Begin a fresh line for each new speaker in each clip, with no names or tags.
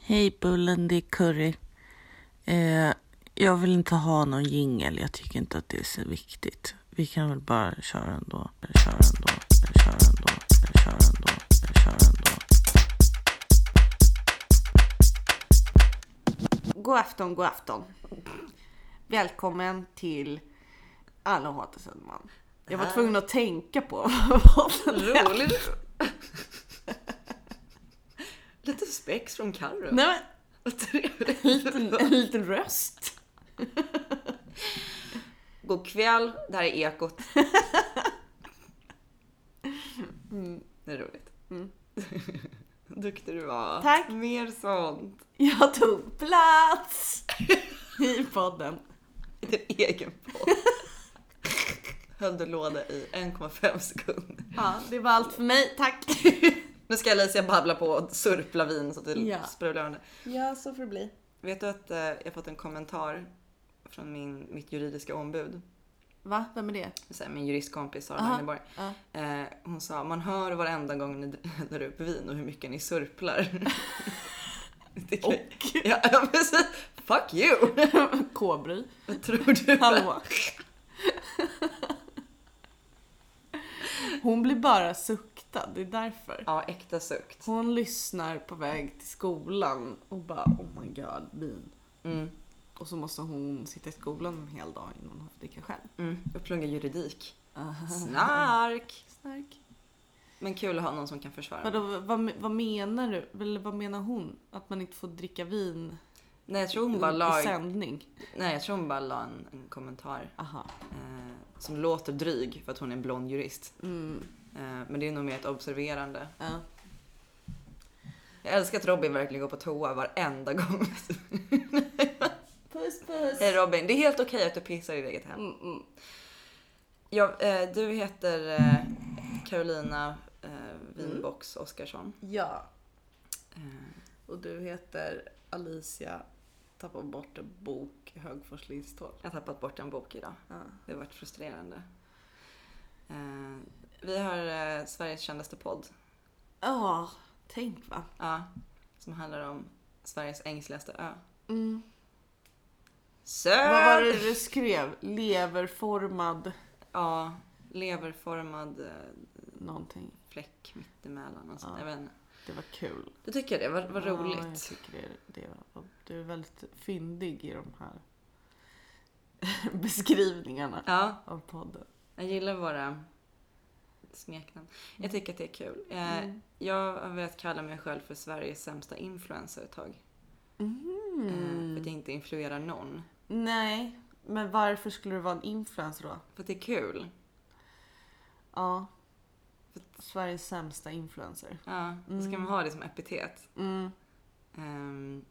Hej Bullen, det är Curry. Eh, jag vill inte ha någon jingel. Jag tycker inte att det är så viktigt. Vi kan väl bara köra ändå. Köra ändå. Köra ändå. Köra ändå. Köra ändå.
God afton, god afton. Välkommen till Alla hatar Söderman. Jag var tvungen att tänka på vad den här-
Roligt. Lite spex från Carro.
Nej, men,
Vad trevligt.
en, en liten röst.
God kväll, det här är Ekot.
Mm.
Det är roligt. Duktig du var.
Tack.
Mer sånt.
Jag tog plats i podden.
I din egen podd. Höll du låda i 1,5 sekunder.
Ja, det var allt för mig. Tack.
Nu ska Alicia babbla på och surpla vin så att det
Ja.
sprudlar om det.
Ja, så får det bli.
Vet du att eh, jag fått en kommentar från min, mitt juridiska ombud?
Va? Vem är det?
så här, min juristkompis Sara
Aha,
Langeborg.
ja.
Eh, hon sa, man hör varenda gång ni häller upp vin och hur mycket ni surplar. Det kan- ja, ja, precis. Fuck you!
Kåbry.
Vad tror du?
Hallå. Hon blir bara suktad, det är därför.
Ja, äkta sukt.
Hon lyssnar på väg till skolan och bara oh my god, bin.
Mm,
Och så måste hon sitta i skolan en hel dag innan hon får dricka själv.
mm. Och plugga juridik. Snark!
Snark.
Men kul att ha någon som kan försvara.
Vadå, vad, vad menar du? Eller vad menar hon? Att man inte får dricka vin
Nej, jag tror hon bara
i, i
la,
sändning?
nej, jag tror hon bara la en, en kommentar
Aha.
eh, som låter dryg för att hon är en blond jurist.
Mm.
Eh, men det är nog mer ett observerande.
Ja.
Jag älskar att Robin verkligen går på toa varenda gång.
Puss puss.
Hej Robin, det är helt okej att du pissar i ditt eget hem.
Mm, mm.
Ja, eh, du heter eh, Carolina eh,
Mm.
Winbox Oskarsson.
Ja.
Eh,
Och du heter Alicia tappar bort en bok i Högfors Lindstorp.
jag har tappat bort en bok idag.
Ja.
Det har varit frustrerande. Eh, vi har eh, Sveriges kändaste podd.
Ja, tänk va.
Ja, som handlar om Sveriges ängsligaste ö.
Mm.
Sö!
Vad var det du skrev? Leverformad
Ja, leverformad eh,
någonting.
fläck mittemellan. Och
Ja.
sånt. Jag vet inte.
Det var kul.
Du tycker det? Vad, vad
Ja, jag
roligt.
tycker det, det var, du är väldigt fyndig i de här beskrivningarna
Ja,
av podden.
Jag gillar våra smeknamn.
Mm.
Jag tycker att det är kul. Eh, Jag har velat kalla mig själv för Sveriges sämsta influencer ett tag.
Mm.
Eh, för att jag inte influerar någon.
Nej, men varför skulle du vara en influencer då?
För att det är kul.
Ja. Sveriges sämsta influencer.
Ja, då ska man ha det som epitet.
Mm.
Ehm,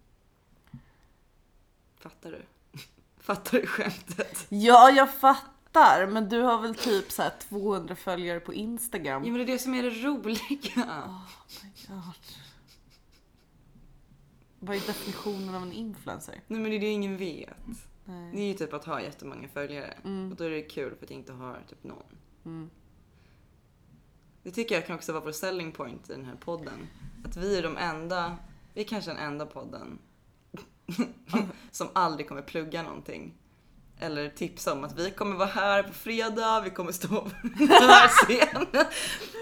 fattar du? fattar du skämtet?
Ja, jag fattar. Men du har väl typ så här 200 följare på Instagram?
Jo men det är det som är det roliga.
Oh my god. Vad är definitionen av en influencer?
Nej men det är det ingen vet. Det
Nej.
är ju typ att ha jättemånga följare.
Mm.
Och då är det kul för att jag inte har typ någon.
Mm.
Det tycker jag kan också vara vår selling point i den här podden. Att vi är de enda, vi är kanske den enda podden som aldrig kommer plugga någonting. Eller tipsa om att vi kommer vara här på fredag, vi kommer stå på den här scenen.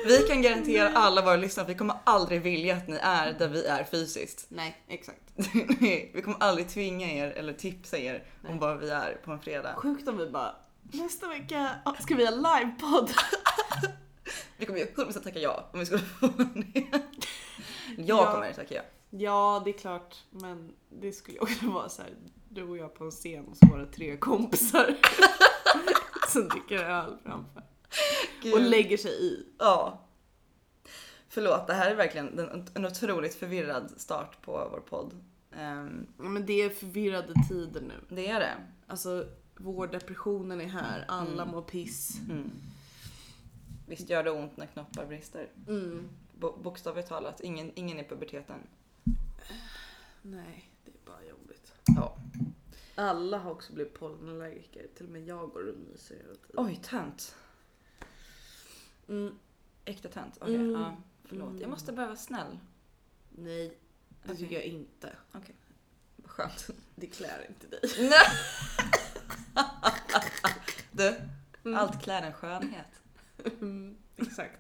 Vi kan garantera alla våra lyssnare att vi kommer aldrig vilja att ni är där vi är fysiskt.
Nej, exakt.
Vi kommer aldrig tvinga er eller tipsa er om
Nej.
var vi är på en fredag.
Sjukt om vi bara nästa vecka ja, ska vi ha livepodd.
Vi kommer ju 100% tacka ja om vi skulle få det. Jag
Ja.
kommer tacka ja.
Ja, det är klart, men det skulle ju också vara så här, du och jag på en scen och så våra tre kompisar som dricker öl framför och
Gud.
lägger sig i.
Ja. Förlåt, det här är verkligen den- en otroligt förvirrad start på vår podd. Ehm,
Ja, Men det är förvirrade tider nu.
det är det.
Alltså, vårddepressionen är här, alla mår piss.
Mm. Visst gör det ont när knoppar brister?
Mm.
Bo- bokstavligt talat, ingen, ingen i puberteten.
Nej, det är bara jobbigt.
Ja.
Alla har också blivit pollenallergiker, till och med jag går och myser hela tiden.
Oj, tönt.
Mm.
Äkta tönt. Okej,
Mm.
ja, förlåt. Jag måste börja vara snäll.
Nej. Det tycker jag inte.
Skönt.
Det klär inte dig.
Nej. Du, allt klär en skönhet.
Mm, exakt.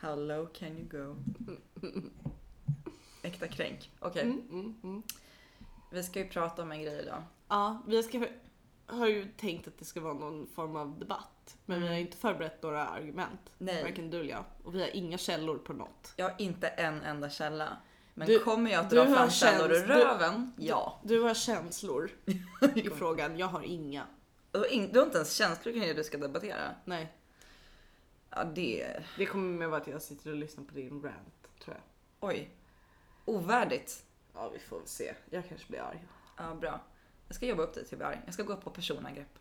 How low can you go? Äkta kränk. Okej,
Mm, mm, mm.
vi ska ju prata om en grej idag.
Ja, vi ska, har ju tänkt att det ska vara någon form av debatt. Men vi har inte förberett några argument.
Nej,
Varken du eller jag. Och vi har inga källor på något.
jag har inte en enda källa. Men
Du-
kommer jag att
du
dra
har
fram källor ur
känns- du-
röven? ja.
Du har känslor i frågan, jag har inga.
Du har, in, du har inte ens känslor kring det du ska debattera.
Nej,
Ja, det...
det kommer med vara att jag sitter och lyssnar på din rant, tror jag.
Oj. Ovärdigt.
Ja, vi får väl se. Jag kanske blir arg.
Ja, bra. Jag ska jobba upp dig till att bli arg. Jag ska gå upp på personangrepp.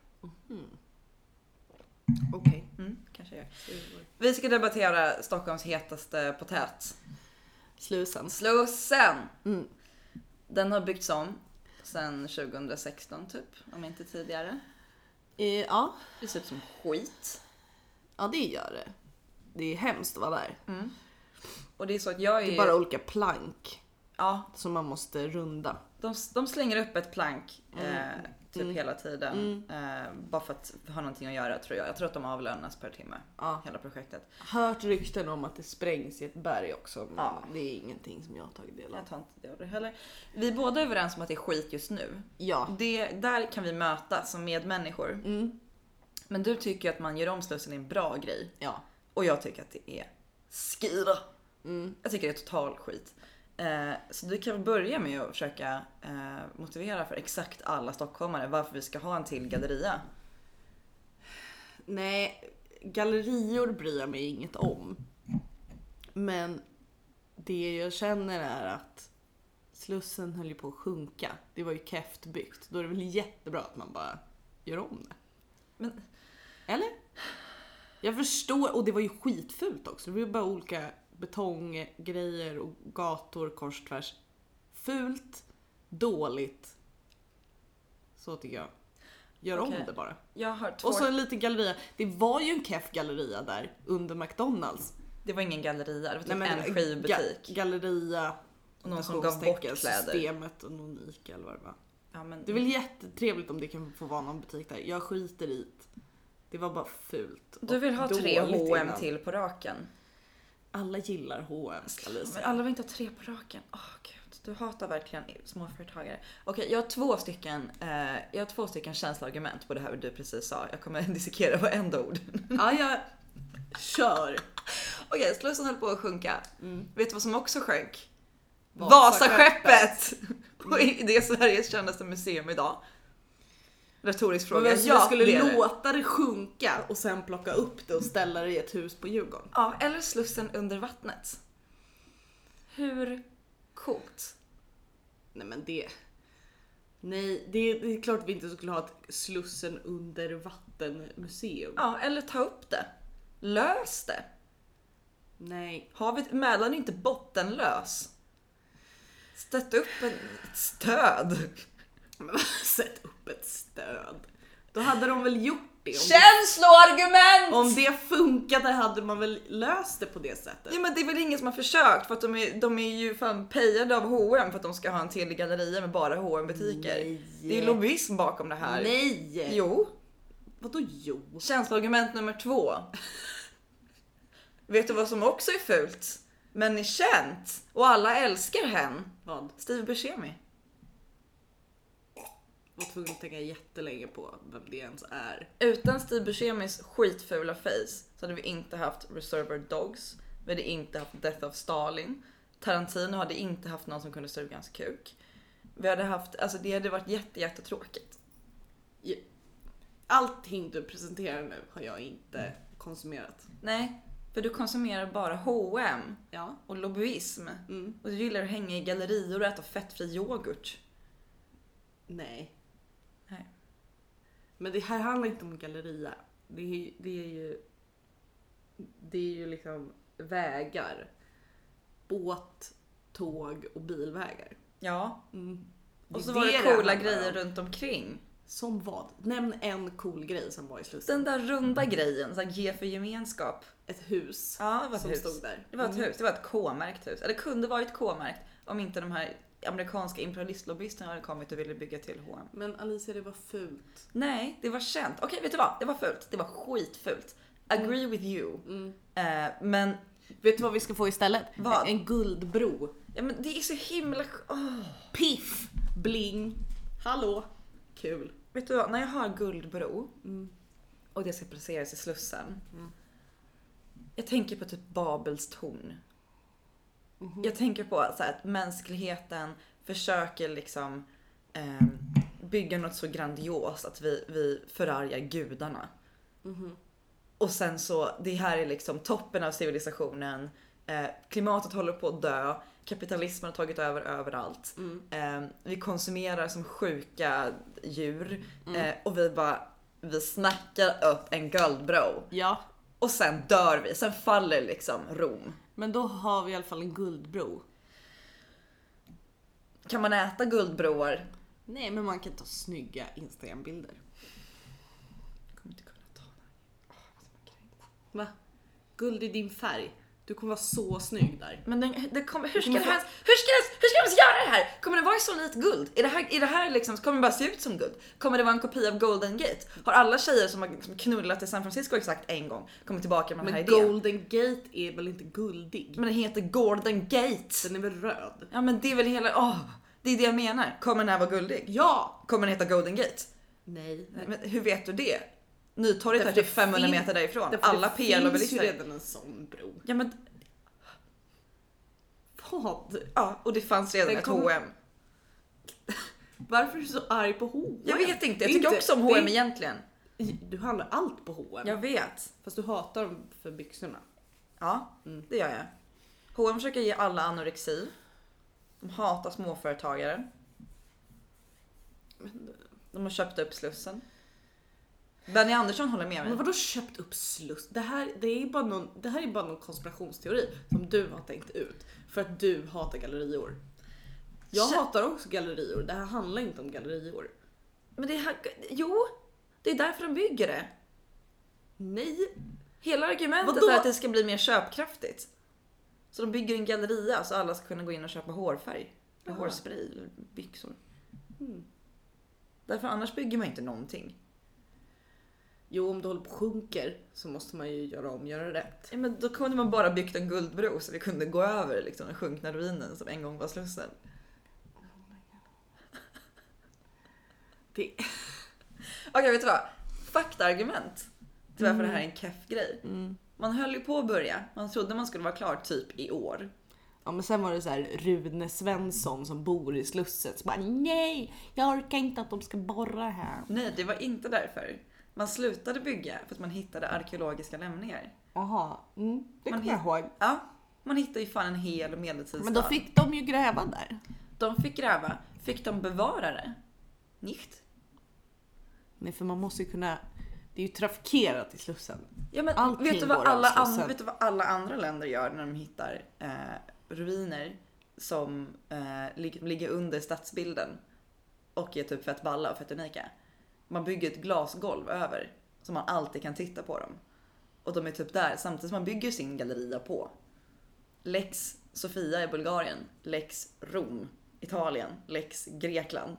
Okej.
Mm, kanske jag gör. Vi ska debattera Stockholms hetaste potät.
Slusen.
Slussen!
Mm.
Den har byggts om sedan 2016 typ, om inte tidigare.
Eh, ja.
Det ser ut som skit.
ja, det gör det. Det är hemskt att vara där.
Och det är så att jag är...
Det är bara olika plank
Ja,
som man måste runda.
de, de slänger upp ett plank eh, typ hela tiden. Eh, bara för att ha någonting att göra tror jag. Jag tror att de avlönas per timme,
Ja.
hela projektet.
Hört rykten om att det sprängs i ett berg också, men
Ja.
det är ingenting som jag har tagit del av.
Jag tar inte det av det heller. Vi är båda överens om att det är skit just nu.
Ja.
Det, där kan vi mötas som medmänniskor.
Mm.
Men du tycker att man gör om Slussen till en bra grej.
Ja.
Och jag tycker att det är skira.
Mm.
Jag tycker det är total skit. Eh, så du kan väl börja med att försöka eh, motivera för exakt alla stockholmare varför vi ska ha en till galleria.
Nej, gallerior bryr jag mig inget om. Men det jag känner är att Slussen höll ju på att sjunka. Det var ju keft byggt. Då är det väl jättebra att man bara gör om det.
Men-
Eller? Jag förstår, och det var ju skitfult också. Det var ju bara olika betonggrejer och gator kors och tvärs. Fult, dåligt. Så tycker jag. Gör
Okej.
om det bara.
Jag har två...
Och så en liten galleria. Det var ju en keff galleria där under McDonalds.
Det var ingen galleria, det var typ
Nej, men eh,
en skivbutik.
Ga- galleria.
och någon som gav bort
citationstecken,
kläder.
Systemet och någon Ica eller vad det var.
Ja, men...
Det är väl jättetrevligt om det kan få vara någon butik där. Jag skiter i det. Det var bara fult.
Du
och
vill ha tre
dåligt
H&M
innan.
till på raken.
Alla gillar H&M
Men
Alicia.
alla vill inte ha tre på raken. Åh gud, du hatar verkligen småföretagare. Okej, jag har två stycken, eh, jag har två stycken känsloargument på det här du precis sa. Jag kommer dissekera varenda ord.
Ja, jag kör.
Okej, Slussen höll på att sjunka.
Mm.
Vet du vad som också sjönk?
Vasaskeppet.
Vasaskeppet! På i- Det är Sveriges kändaste museum idag. Retorisk
Frågan
fråga.
är jag skulle
det är det.
låta det sjunka och sen plocka upp det och ställa det i ett hus på Djurgården.
Ja, eller Slussen under vattnet. Hur coolt?
Nej men det... Nej, det, det är klart vi inte skulle ha ett Slussen under vattenmuseum.
Ja, eller ta upp det. Lös det.
Nej.
Havet Mälaren är inte bottenlös. Sätt upp en, ett stöd.
Men sätt upp ett stöd. Då hade de väl gjort det. Om,
Känsloargument!
det, om det funkade hade man väl löst det på det sättet.
Ja men det är väl ingen som har försökt för att de är, de är ju fan pejade av H&M för att de ska ha en till galleria med bara H&M butiker.
Nej.
Det är ju lobbyism bakom det här.
Nej!
Jo.
Vadå jo?
Känsloargument nummer två. Vet du vad som också är fult? Men är känt och alla älskar hen.
Vad?
Steve Buscemi.
Var tvungen att tänka jättelänge på vem det ens är.
Utan Steve Buscemis skitfula face så hade vi inte haft Reserver Dogs. Vi hade inte haft Death of Stalin. Tarantino hade inte haft någon som kunde suga hans kuk. Vi hade haft, alltså det hade varit jätte, jättetråkigt.
Allting du presenterar nu har jag inte konsumerat.
Nej, för du konsumerar bara H&M
Ja.
och lobbyism.
Mm.
Och du gillar att hänga i gallerior och äta fettfri yoghurt.
Nej.
Nej.
Men det här handlar inte om galleria. Det är, ju- det är ju... Det är ju liksom vägar. Båt, tåg och bilvägar.
Ja,
Mm.
och så
är
Mm. var det
här
coola
handlar
grejer
om.
runt omkring.
Som vad? Nämn en cool grej som var i slutet.
Den där runda grejen, så här G för gemenskap.
Ett hus
Ja, det var ett
som
hus.
stod där. Mm.
Det var ett hus, det var ett K-märkt hus. Eller kunde varit K-märkt om inte de här amerikanska imperialistlobbyisterna hade kommit och ville bygga till H&M.
Men Alicia, det var fult.
Nej, det var känt. Okej, vet du vad? Det var fult. Det var skitfult. Agree with you. Eh, men,
Vet du vad vi ska få istället?
Vad?
En guldbro.
ja, men det är så himla... åh.
Piff! Bling! Hallå! Kul.
Vet du vad? När jag har Guldbro och det ska placeras i Slussen. Jag tänker på typ Babels torn.
Mm-hmm.
Jag tänker på så här, att mänskligheten försöker liksom ehm, bygga något så grandios att vi, vi förargar gudarna.
Mm-hmm.
Och sen så, det här är liksom toppen av civilisationen. Eh, klimatet håller på att dö. Kapitalismen har tagit över överallt. Eh, vi konsumerar som sjuka djur. Eh, och vi bara, vi snackar upp en guldbro.
Ja,
Och sen dör vi, sen faller liksom Rom.
men då har vi i alla fall en guldbro.
Kan man äta guldbroar?
Nej, men man kan ta snygga Instagram-bilder.
Jag kommer inte kunna ta den.
Va? Guld i din färg. Du kommer vara så snygg där.
Men den, det kommer, hur, ska
kommer
det här, hur, ska det, hur ska de ens göra det här? Kommer det vara så likt guld? Är det här, är det här liksom, kommer det bara se ut som guld? Kommer det vara en kopia av Golden Gate? Har alla tjejer som har liksom knullat i San Francisco exakt en gång kommit tillbaka med den här
Men
idén?
Golden Gate är väl inte guldig?
Men den heter Golden Gate.
Den är väl röd?
Ja men det är väl hela, åh, det är det jag menar. Kommer den här vara guldig?
Ja!
Kommer den heta Golden Gate?
Nej.
Nej, Men hur vet du det? Nytorget är
Därför
typ
det
500
fin-
meter därifrån.
Därför
Alla
det finns ju
PL-lobbyister.
redan en sån bro.
Ja men
Vad?
ja, och det fanns redan
Den
ett
kommer-
H&M.
Varför är du så arg på H&M?
Jag vet inte, jag tycker också om
det är
H&M egentligen.
Du handlar allt på H&M.
Jag vet.
Fast du hatar dem för byxorna.
Ja, det gör jag. H&M försöker ge alla anorexi. De hatar småföretagare. De har köpt upp Slussen. Benny Andersson håller med
Men
mig.
vadå köpt upp sluss? Det här, det, är bara någon, det här är bara någon konspirationsteori som du har tänkt ut för att du hatar gallerior. Jag
Kö-
hatar också gallerior. Det här handlar inte om gallerior.
Men det här, jo, det är därför de bygger det.
Nej,
Hela argumentet
Vadå?
är att det ska bli mer köpkraftigt. Så de bygger en galleria så alla ska kunna gå in och köpa hårfärg. Eller
Aha.
hårspray eller byxor. Mm. Därför annars bygger man inte någonting.
jo om du håller på och sjunker så måste man ju göra om, göra rätt.
Ja, men då kunde man bara byggt en guldbro så vi kunde gå över liksom, den sjunkna ruinen som en gång var Slussen.
Det,
Okej, vet du vad? Faktaargument. till varför det här är en keff grej.
Mm.
Man höll ju på att börja. Man trodde man skulle vara klar typ i år.
Ja men sen var det så här Rune Svensson som bor i Slusset som bara nej, jag orkar inte att de ska borra här.
Nej, det var inte därför. Man slutade bygga för att man hittade arkeologiska lämningar.
Jaha, mm, det
Man
kommer jag ihåg.
Ja, man hittar ju fan en hel medeltidsstad.
Men då fick de ju gräva där.
de fick gräva. Fick de bevara det? Nicht?
Nej för man måste ju kunna, det är ju trafikerat i Slussen.
Ja, men
Allting
vet, du vad
går över
alla an-
Slussen.
vet du vad alla andra länder gör när de hittar eh, ruiner som eh, lig- ligger under stadsbilden och är typ fett balla och fett unika? Man bygger ett glasgolv över så man alltid kan titta på dem. Och de är typ där samtidigt som man bygger sin galleria på. Lex Sofia i Bulgarien, Lex Rom, Italien, Lex Grekland.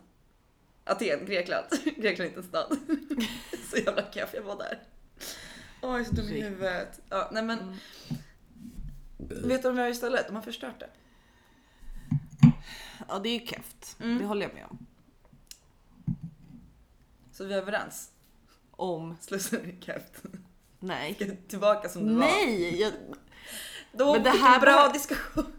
Aten, Grekland. Grekland är inte en stad. så jävla keff, jag var där. Åh, jag är så dum i
Riktigt.
huvudet. Ja, nej men.
Mm.
Vet du vad de gör istället? De har förstört det.
Ja det är ju keft,
Mm.
det håller jag med om.
Så vi är överens.
Om,
Slussen är keft.
nej.
Tillbaka som det var.
Nej! Jag,
Då
Men det
fick
här
en bra
var-
diskussion.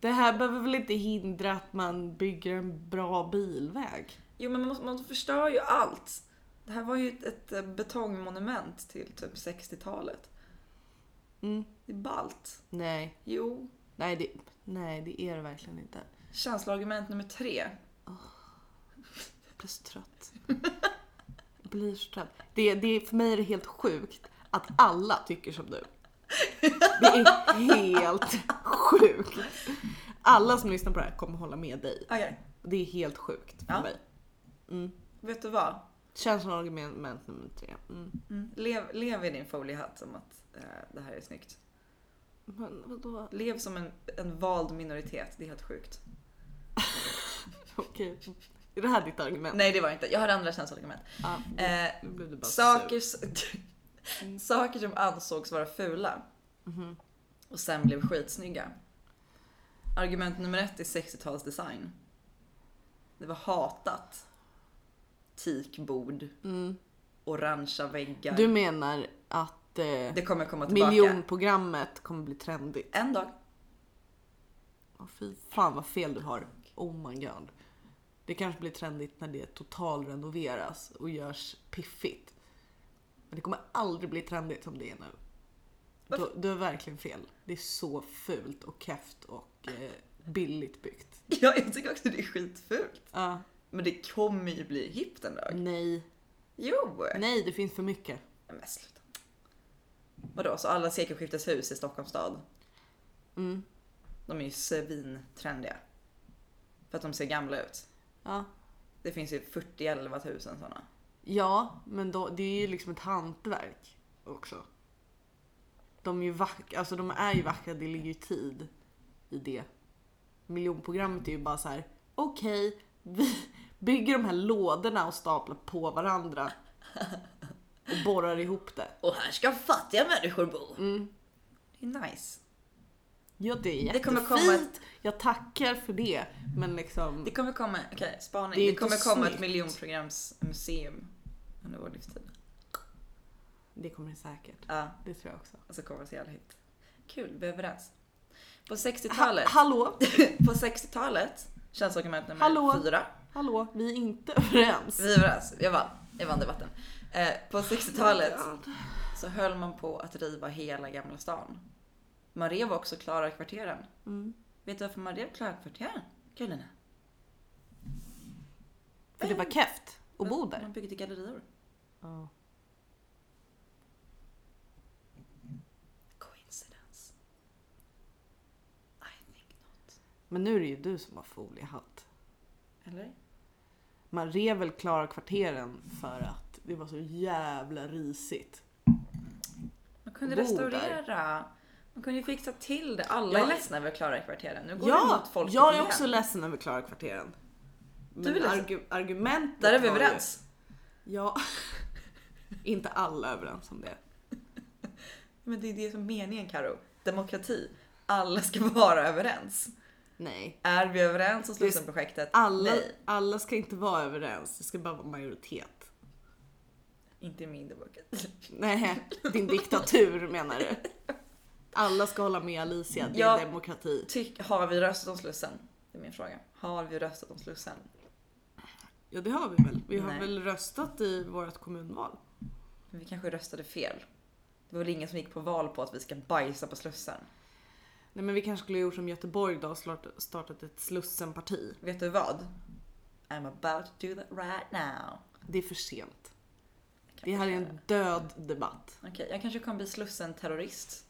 det här behöver väl inte hindra att man bygger en bra bilväg?
Jo men man, måste- man förstör ju allt. Det här var ju ett, ett eh, betongmonument till typ 60-talet.
Mm.
Det är ballt.
Nej,
Jo.
nej det, nej det är det verkligen inte.
Känsloargument nummer tre.
Jag blir så trött. Jag blir så trött. Det, det, för mig är det helt sjukt att alla tycker som du. Det är helt sjukt. Alla som lyssnar på det här kommer hålla med dig.
Okej,
Det är helt sjukt för
Ja.
mig.
vet du vad?
Mm. Känns som argument nummer tre. Mm.
Lev, lev i din foliehatt som att eh, det här är snyggt.
Men vadå?
Lev som en, en vald minoritet, det är helt sjukt.
Okej. Är det här ditt argument?
Nej det var det inte, jag har andra känsloargument.
Ja,
Eh,
nu blev du bara sur.
saker, saker som ansågs vara fula
Mhm.
och sen blev skitsnygga. Argument nummer ett är 60-talsdesign. Det var hatat. Teakbord,
Mm.
orangea väggar.
Du menar att eh,
det kommer komma tillbaka.
miljonprogrammet kommer bli trendigt?
En dag.
Åh, fy fan vad fel du har. Oh my god. Det kanske blir trendigt när det totalrenoveras och görs piffigt. Men det kommer aldrig bli trendigt som det är nu. Du,
Varför?
du har verkligen fel. Det är så fult och keft och eh, billigt byggt.
Ja, jag tycker också det är skitfult.
Ja.
Men det kommer ju bli hippt en dag.
nej,
Jo!
nej det finns för mycket.
Nej, Men sluta. Vadå, så alla sekelskifteshus i Stockholms stad,
Mm.
de är ju svintrendiga. För att de ser gamla ut.
Ja.
Det finns ju 40 000 tusen sådana.
ja, men då, det är ju liksom ett hantverk också. De är ju vackra, alltså de är ju vackra, det ligger ju tid i det. Miljonprogrammet är ju bara så här: okej, vi bygger de här lådorna och staplar på varandra. Och borrar ihop det.
Och här ska fattiga människor bo!
Mm.
Det är nice.
Ja, det är
Det
jättefint.
kommer komma ett-
Jag tackar för det. Men liksom,
Det kommer komma, okej spaning.
Mm. Det är
Det,
inte
kommer komma
snyggt.
ett miljonprogramsmuseum under vår livstid.
det kommer det säkert.
Ja,
Det tror jag också.
och så kommer det så jävla hippt. Kul, vi är överens. På
Ha,
60-talet,
hallå,
på 60-talet, känsloargument nummer
Hallå?
fyra.
hallå, vi är inte överens.
Vi är överens, jag vann. Jag vann debatten. Eh, på 60-talet så höll man på att riva hela Gamla stan. Man rev också Klara kvarteren.
Mm.
Vet du varför man rev Klara kvarteren? Karolina?
För det var keft att bo
Man
där.
byggde gallerior. Coincidence. I think not.
Men nu är det ju du som har foliehatt.
Eller?
Man rev väl Klara kvarteren för att det var så jävla risigt.
Man kunde
Bo
restaurera. Man kunde ju fixa till det. Alla
Ja.
är ledsna över Klara kvarteren. Nu går det
Ja,
emot folk
jag är också ledsen över Klara kvarteren. Men
Du är ledsen.
argu- argumentet
Där är vi
var ju-
överens.
Ja. inte alla är överens om det.
Men det är det som är meningen Karo. Demokrati. Alla ska vara överens.
Nej.
Är vi överens om
Det är-
Slussenprojektet?
Alla,
Nej,
alla ska inte vara överens, det ska bara vara majoritet.
inte i min bok.
Nej, din diktatur menar du. Alla ska hålla med Alicia, det är
Ja.
demokrati.
Tyck, har vi röstat om Slussen? Det är min fråga. Har vi röstat om Slussen?
Ja det har vi väl. Vi har
Nej.
väl röstat i vårt kommunval.
Men vi kanske röstade fel. Det var väl ingen som gick på val på att vi ska bajsa på Slussen.
Nej men vi kanske skulle ha gjort som Göteborg då och slart- startat ett Slussenparti.
Vet du vad? I'm about to do that right now.
Det är för sent.
Jag kan
Det här är
förklara.
en död debatt.
Okej, jag kanske kommer bli Slussen-terrorist.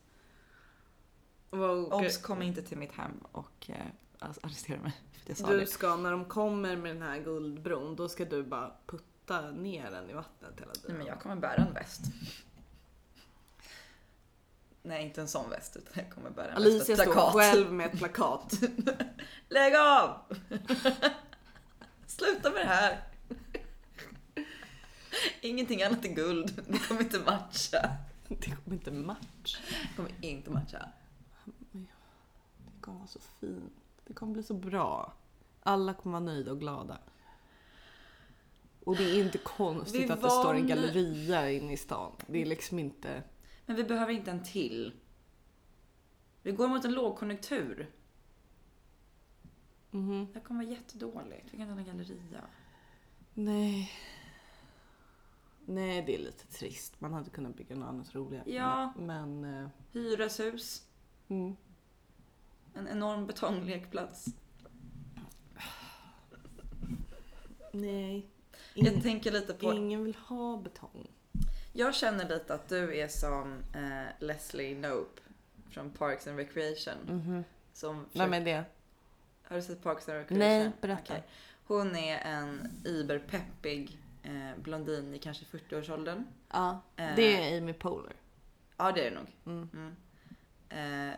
Wow,
Obs, kom inte till mitt hem och eh, alltså, arrestera mig för att jag sa
Du
det.
ska, när de kommer med den här guldbron, då ska du bara putta ner den i vattnet hela tiden.
Nej, men jag kommer bära en väst. Nej, inte en sån väst utan jag kommer bära en väst
Alicia
med
står
plakat.
själv med ett plakat.
Lägg av! Sluta med det här! Ingenting annat är guld. Det kommer inte matcha.
Det kommer inte match.
Det kommer inte matcha.
Det kommer vara så fint. Det kommer bli så bra. Alla kommer vara nöjda och glada. Och det är inte konstigt
Vi
att det står en
vann-
galleria inne i stan. Det är liksom inte...
Men vi behöver inte en till. Vi går mot en lågkonjunktur.
Mhm.
Det här kommer vara jättedåligt. Vi kan inte ha en galleria.
Nej. Nej, det är lite trist. Man hade kunnat bygga något annat roligare.
Ja.
Men... eh,
Hyreshus.
Mm.
En enorm betonglekplats.
Nej.
Jag
In,
tänker lite på...
ingen vill ha betong.
Jag känner lite att du är som eh, Leslie Knope från Parks and
Mm.
Recreation. Som försöker-
Vem är det?
Har du sett Parks and Recreation?
Nej, berätta.
Okej. Hon är en iberpeppig eh, blondin i kanske 40-årsåldern.
Ja,
Eh,
det är Amy Poehler.
Ja, det är det nog.
Mm.
Mm. Eh,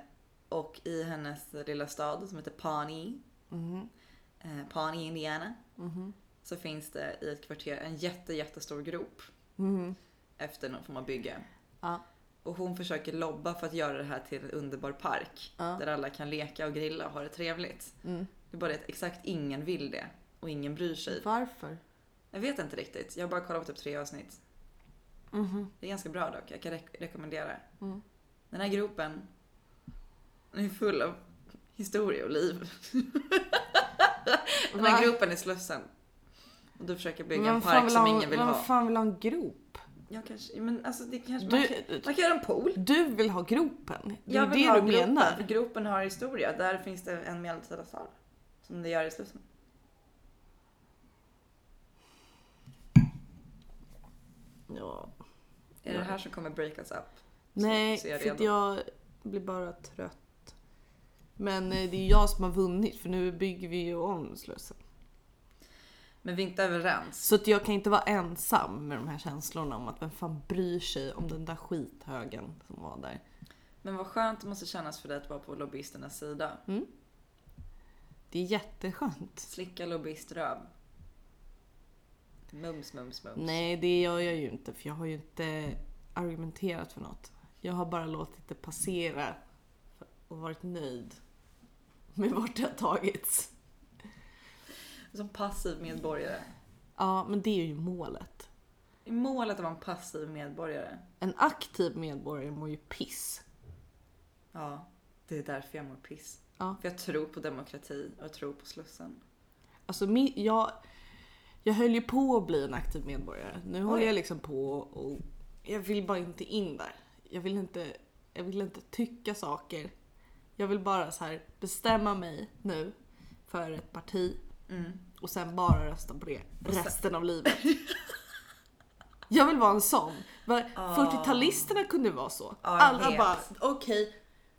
och i hennes lilla stad som heter Pawnee,
Mhm,
eh, Pawnee, Indiana,
mhm,
så finns det i ett kvarter en jätte, jättestor grop
mhm.
efter någon form av bygge.
Ja.
Och hon försöker lobba för att göra det här till en underbar park
Ja.
där alla kan leka och grilla och ha det trevligt.
Mm.
Det är bara det att exakt ingen vill det och ingen bryr sig.
Varför?
Jag vet inte riktigt. Jag har bara kollat på typ tre avsnitt.
Mhm.
Det är ganska bra dock. Jag kan rek- rekommendera.
Mm.
Den här gropen den är full av historia och liv. Den här
Va?
gropen är Slussen. Och du försöker bygga en
Vem fan
park som
ha en-
ingen vill
vem
ha.
fan vill ha en grop?
Ja, kanske. Men alltså det kanske... man, kan,
Du,
man kan göra en pool.
du vill ha gropen? Det
Jag
är
vill
du
ha
det du
gropen,
menar?
för gropen har historia. Där finns det en medeltida sal. Som det gör i Slussen.
Ja.
Är det det här som kommer break us up?
Nej,
så är jag
för att
redo.
jag blir bara trött. Men eh, det är jag som har vunnit för nu bygger vi ju om Slussen.
Men vi är inte överens.
Så att jag kan inte vara ensam med de här känslorna om att vem fan bryr sig om den där skithögen som var där.
Men vad skönt det måste kännas för dig att vara på lobbyisternas sida.
Det är jätteskönt.
Slicka lobbyströv. Mums, mums, mums.
Nej, det gör jag ju inte för jag har ju inte argumenterat för något. Jag har bara låtit det passera och varit nöjd med vart det har tagits.
Som passiv medborgare.
Ja, men det är ju målet.
Är målet att vara en passiv medborgare?
En aktiv medborgare mår ju piss.
Ja, det är därför jag mår piss.
Ja.
För jag tror på demokrati och jag tror på Slussen.
Alltså, min, jag, jag höll ju på att bli en aktiv medborgare. Nu håller
Oj.
jag liksom på och jag vill bara inte in där. Jag vill inte, jag vill inte tycka saker. Jag vill bara så här bestämma mig nu för ett parti
Mm.
och sen bara rösta på det resten av livet. Jag vill vara en sån. Var- 40-talisterna kunde vara så.
jag
Alla
vet.
bara, okej,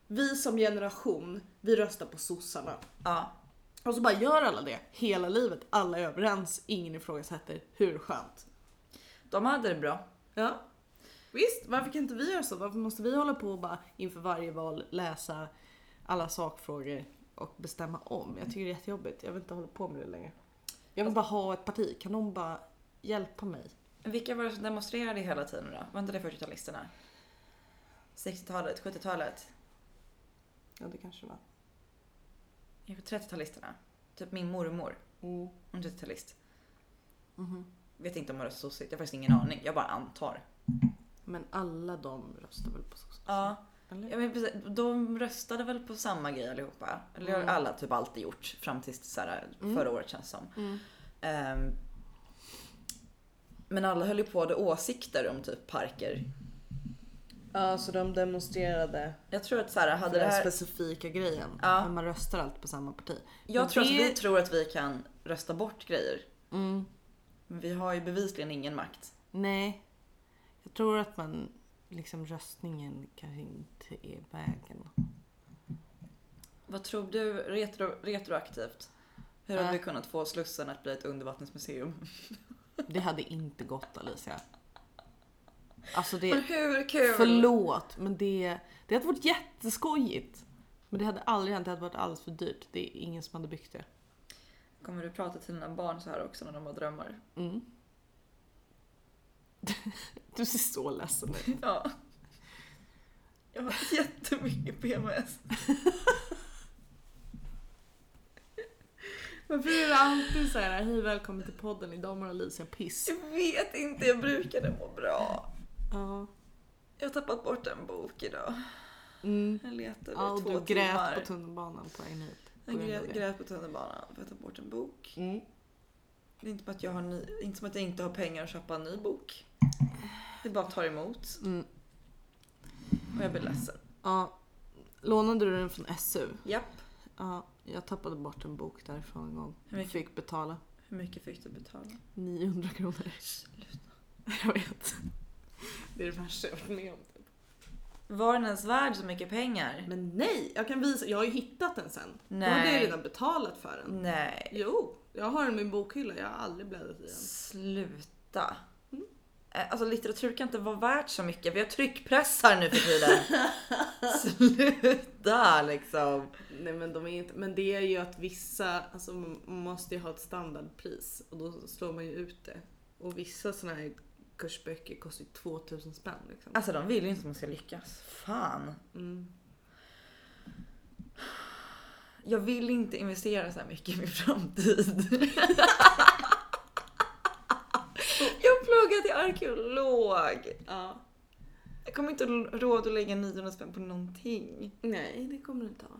vi som generation, vi röstar på sossarna.
Ja,
Och så bara gör alla det hela livet. Alla är överens, ingen ifrågasätter. Hur skönt?
de hade det bra.
Ja. Visst, varför kan inte vi göra så? Varför måste vi hålla på och bara inför varje val läsa alla sakfrågor och bestämma om? Jag tycker det är jättejobbigt. Jag vill inte hålla på med det längre. Jag vill bara ha ett parti. Kan någon bara hjälpa mig?
Vilka var det som demonstrerade hela tiden då? Var inte det 40-talisterna? 60-talet? 70-talet?
Ja, det kanske var.
Kanske 30-talisterna? Typ min mormor.
Mm. Mhm.
Hon är 30-talist. Vet inte om hon röstar sossigt. Jag har faktiskt ingen
Mm.
aning. Jag bara antar.
Men alla de röstar väl på sossarna?
Ja.
Eller?
Ja, men precis. de röstade väl på samma grej allihopa. Eller har
Mm.
alla typ alltid gjort fram tills så här,
Mm.
förra året känns det som.
Mm.
Ehm, men alla höll ju på att ha åsikter om typ parker.
Ja, så de demonstrerade
Jag tror att så här,
för
hade det
den
här...
specifika grejen.
Ja.
Men man röstar alltid på samma parti.
Jag
Men
tror att
det-
vi tror att vi kan rösta bort grejer.
Mm.
Men vi har ju bevisligen ingen makt.
Nej. Jag tror att man liksom röstningen kanske inte är vägen.
Vad tror du retro, retroaktivt? Hur
Äh.
hade vi kunnat få Slussen att bli ett undervattensmuseum?
Det hade inte gått Alicia. Alltså det...
Men hur kul!
Förlåt men det... Det hade varit jätteskojigt. Men det hade aldrig hänt, det hade varit alldeles för dyrt. Det är ingen som hade byggt det.
Kommer du prata till dina barn så här också när de har drömmar?
Mm. Du ser så ledsen ut.
Ja. Jag har jättemycket PMS.
Varför är det alltid så här, hej välkommen till podden, idag mår Alicia piss.
Jag vet inte, jag brukade må bra.
Ja.
Jag har tappat bort en bok idag.
Mm.
Jag letade i
Ja, och
två
du grät
timmar.
på tunnelbanan på vägen hit. på
jag
grund av
grät,
det.
grät på tunnelbanan för att jag tappat bort en bok.
Mm.
Det är inte som att jag, har ny, inte som att jag inte har pengar att köpa en ny bok. Det bara tar emot
Mm.
och jag blir ledsen.
Ja. Lånade du den från SU?
Japp.
Ja, jag tappade bort en bok därifrån en gång.
Hur mycket?
Fick betala
Hur mycket fick du betala?
900 kronor. Jag vet. Det är det värsta jag varit med om. typ.
Var den ens värd så mycket pengar?
Men nej, jag kan visa. Jag har ju hittat den sen. Då hade jag
Nej.
redan betalat för den.
Nej.
Jo, jag har den i min bokhylla. Jag har aldrig bläddrat i den.
Sluta.
äta. Eh, Alltså litteratur kan inte vara värt så mycket. Vi har tryckpressar nu för tiden. Sluta liksom.
Nej men de är inte, men det är ju att vissa, alltså man måste ju ha ett standardpris och då slår man ju ut det. Och vissa sådana här kursböcker kostar ju 2000 spänn liksom.
Alltså de vill ju inte att man ska lyckas. Fan.
Mm.
Jag vill inte investera så här mycket i min framtid. Jag pluggar till arkeolog.
Ja.
Jag kommer inte ha råd att lägga 900 spänn på någonting.
Nej det kommer du inte ha.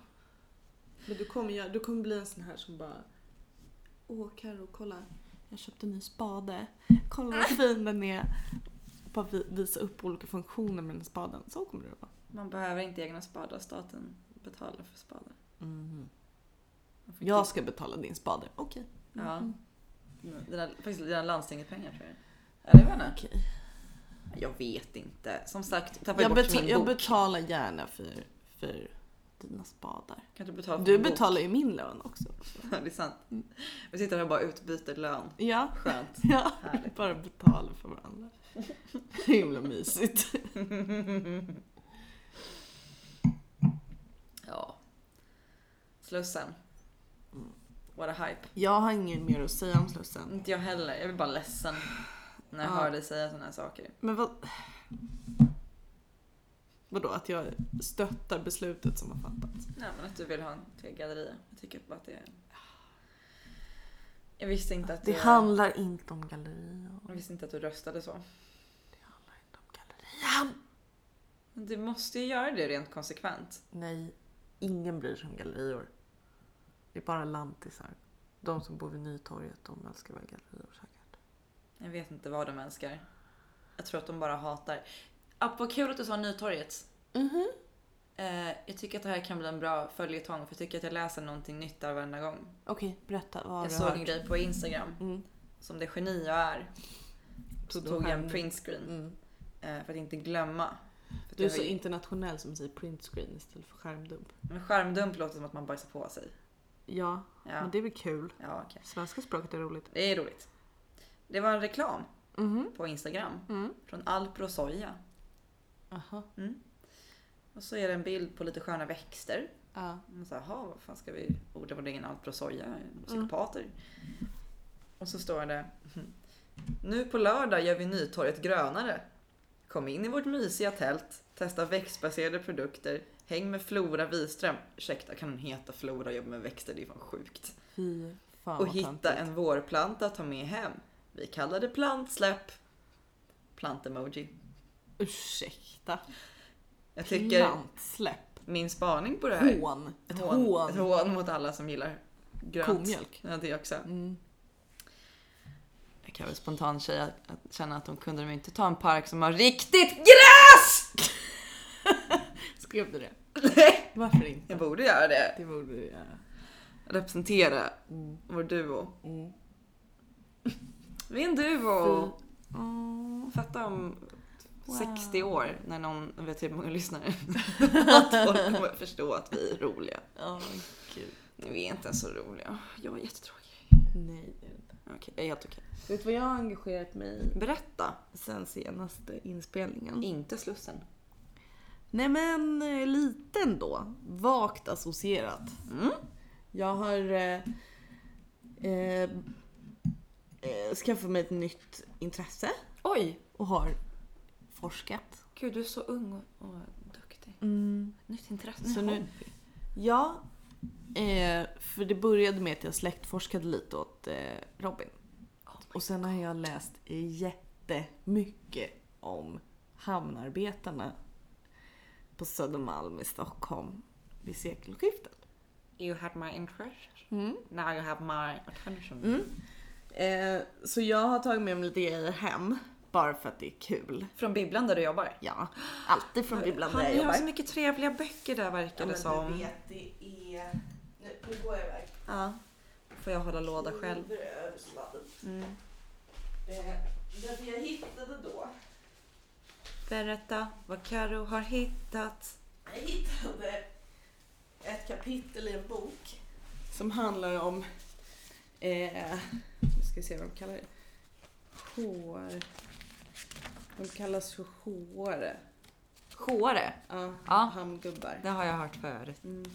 Men du kommer, göra- du kommer bli en sån här som bara Åh Carro kolla, jag köpte en ny spade. Kolla vad fin den är. Och bara vi- visa upp olika funktioner med den här spaden. Så kommer det att vara.
Man behöver inte egna spadar, staten betalar för spadar.
Mhm.
Man får
Jag ska betala din spade. Okej. Mm.
Ja. Dina, faktiskt dina landstinget pengar tror jag. Eller vad det
Okej.
Jag vet inte. Som sagt, tappar jag,
Jag,
bort min
beta-
bok.
jag betalar gärna för, för dina spadar.
kan du betala för
Du
min bok?
betalar ju min lön också.
Ja, det är sant. Vi sitter här och bara utbyter lön.
Ja,
Skönt.
ja.
Härligt.
bara betalar för varandra. Himla mysigt.
Ja. Slussen. What a hype.
Jag har inget mer att säga om Slussen.
Inte jag heller. Jag blir bara ledsen när jag
Ja.
hör dig säga sådana här saker.
Men vad... Vadå, att jag stöttar beslutet som har fattats?
Nej men att du vill ha en till galleria. Jag tycker bara att det är... Jag visste inte att
Det
du-
handlar inte om gallerian.
Jag visste inte att du röstade så.
Om galleri.
Men Du måste ju göra det rent konsekvent.
Nej, ingen bryr sig om gallerior. Det är bara lantisar. De som bor vid Nytorget, de älskar väl gallerior säkert.
Jag vet inte vad de älskar. Jag tror att de bara hatar. App, vad kul att du sa Nytorget.
Mhm.
Eh, jag tycker att det här kan bli en bra följetong för jag tycker att jag läser någonting nytt där varenda gång.
Okej, berätta. Vad har
jag
du
såg
hört?
en grej på Instagram
Mm.
som det geni jag är. Så
Stor
tog jag en
skärm.
printscreen
Mm.
eh, för att inte glömma. För att
Du är
jag
så
vill-
internationell som säger printscreen istället för skärmdump.
Men skärmdump låter som att man bajsar på sig.
Ja,
Ja,
men det är väl kul.
ja okej.
Svenska språket är roligt.
Det är roligt. Det var en reklam
Mm-hmm.
Mhm.
på Instagram
Mm.
från Alpro Soja.
Aha.
Och så är det en bild på lite sköna växter.
Ja.
Man sa, jaha, vad fan ska vi odla vår egen alprosoja?
Mm.
Psykopater. Och så står det, "Mhm. nu på lördag gör vi Nytorget grönare. Kom in i vårt mysiga tält, testa växtbaserade produkter, häng med Flora Wiström. Ursäkta, kan hon heta Flora och jobba med växter? Det är fan sjukt.
Fy fan
och
vad
hitta
töntigt.
en vårplanta att ta med hem. Vi kallar det plantsläpp. Plantemoji.
Ursäkta.
Jag tycker
Plantsläpp.
min spaning på det här.
Hån.
Ett
Ett
hån. Ett
hån.
hån mot alla som gillar grönt.
Komjölk.
Ja, det också.
Mm.
Jag kan väl spontant säga att, att känna att de kunde de inte ta en park som har riktigt gräs!
Skrev du det? Varför inte?
Jag borde göra det.
Det borde du göra.
Representera
Mm.
vår duo.
Mm.
Vi är en duo.
Mm.
Fatta om
Wow.
60 år när någon, jag vet hur många lyssnare, att folk kommer att förstå att vi är roliga.
Ja, men gud.
Ni vi är inte ens så roliga. Jag är jättetråkig.
Nej, det är det inte.
Okej, jag är helt okej.
Vet du vad jag har engagerat mig i
Berätta.
sen senaste inspelningen?
Inte Slussen.
Nej men eh, lite ändå. Vagt associerat.
Mm.
Jag har eh, eh, eh, skaffat mig ett nytt intresse
Oj!
och har forskat.
Gud, du är så ung och, och duktig. Nytt intresse.
Så nu, ja, eh, för det började med att jag släktforskade lite åt eh, Robin.
Oh
och sen har jag läst jättemycket om hamnarbetarna på Södermalm i Stockholm vid sekelskiftet.
You had my interest.
Mm.
Now you have my attention.
Eh, så jag har tagit med mig lite grejer hem, bara för att det är kul.
Från bibblan där du jobbar.
Ja, alltid från bibblan
Han
där jag
har
jobbar.
så mycket trevliga böcker där verkar det som.
vet, det är... Nu, nu går jag iväg.
Ja. Får jag hålla låda själv?
Nu är jag översladden.
Mm.
Eh, Därför jag hittade då,
Berätta vad Karo har hittat.
jag hittade ett kapitel i en bok som handlar om, eh, nu ska vi se vad de kallar det, HR. De kallas för HR.
Sjåre.
Ja,
Ja.
hamngubbar.
Det har jag hört förut.
Mm.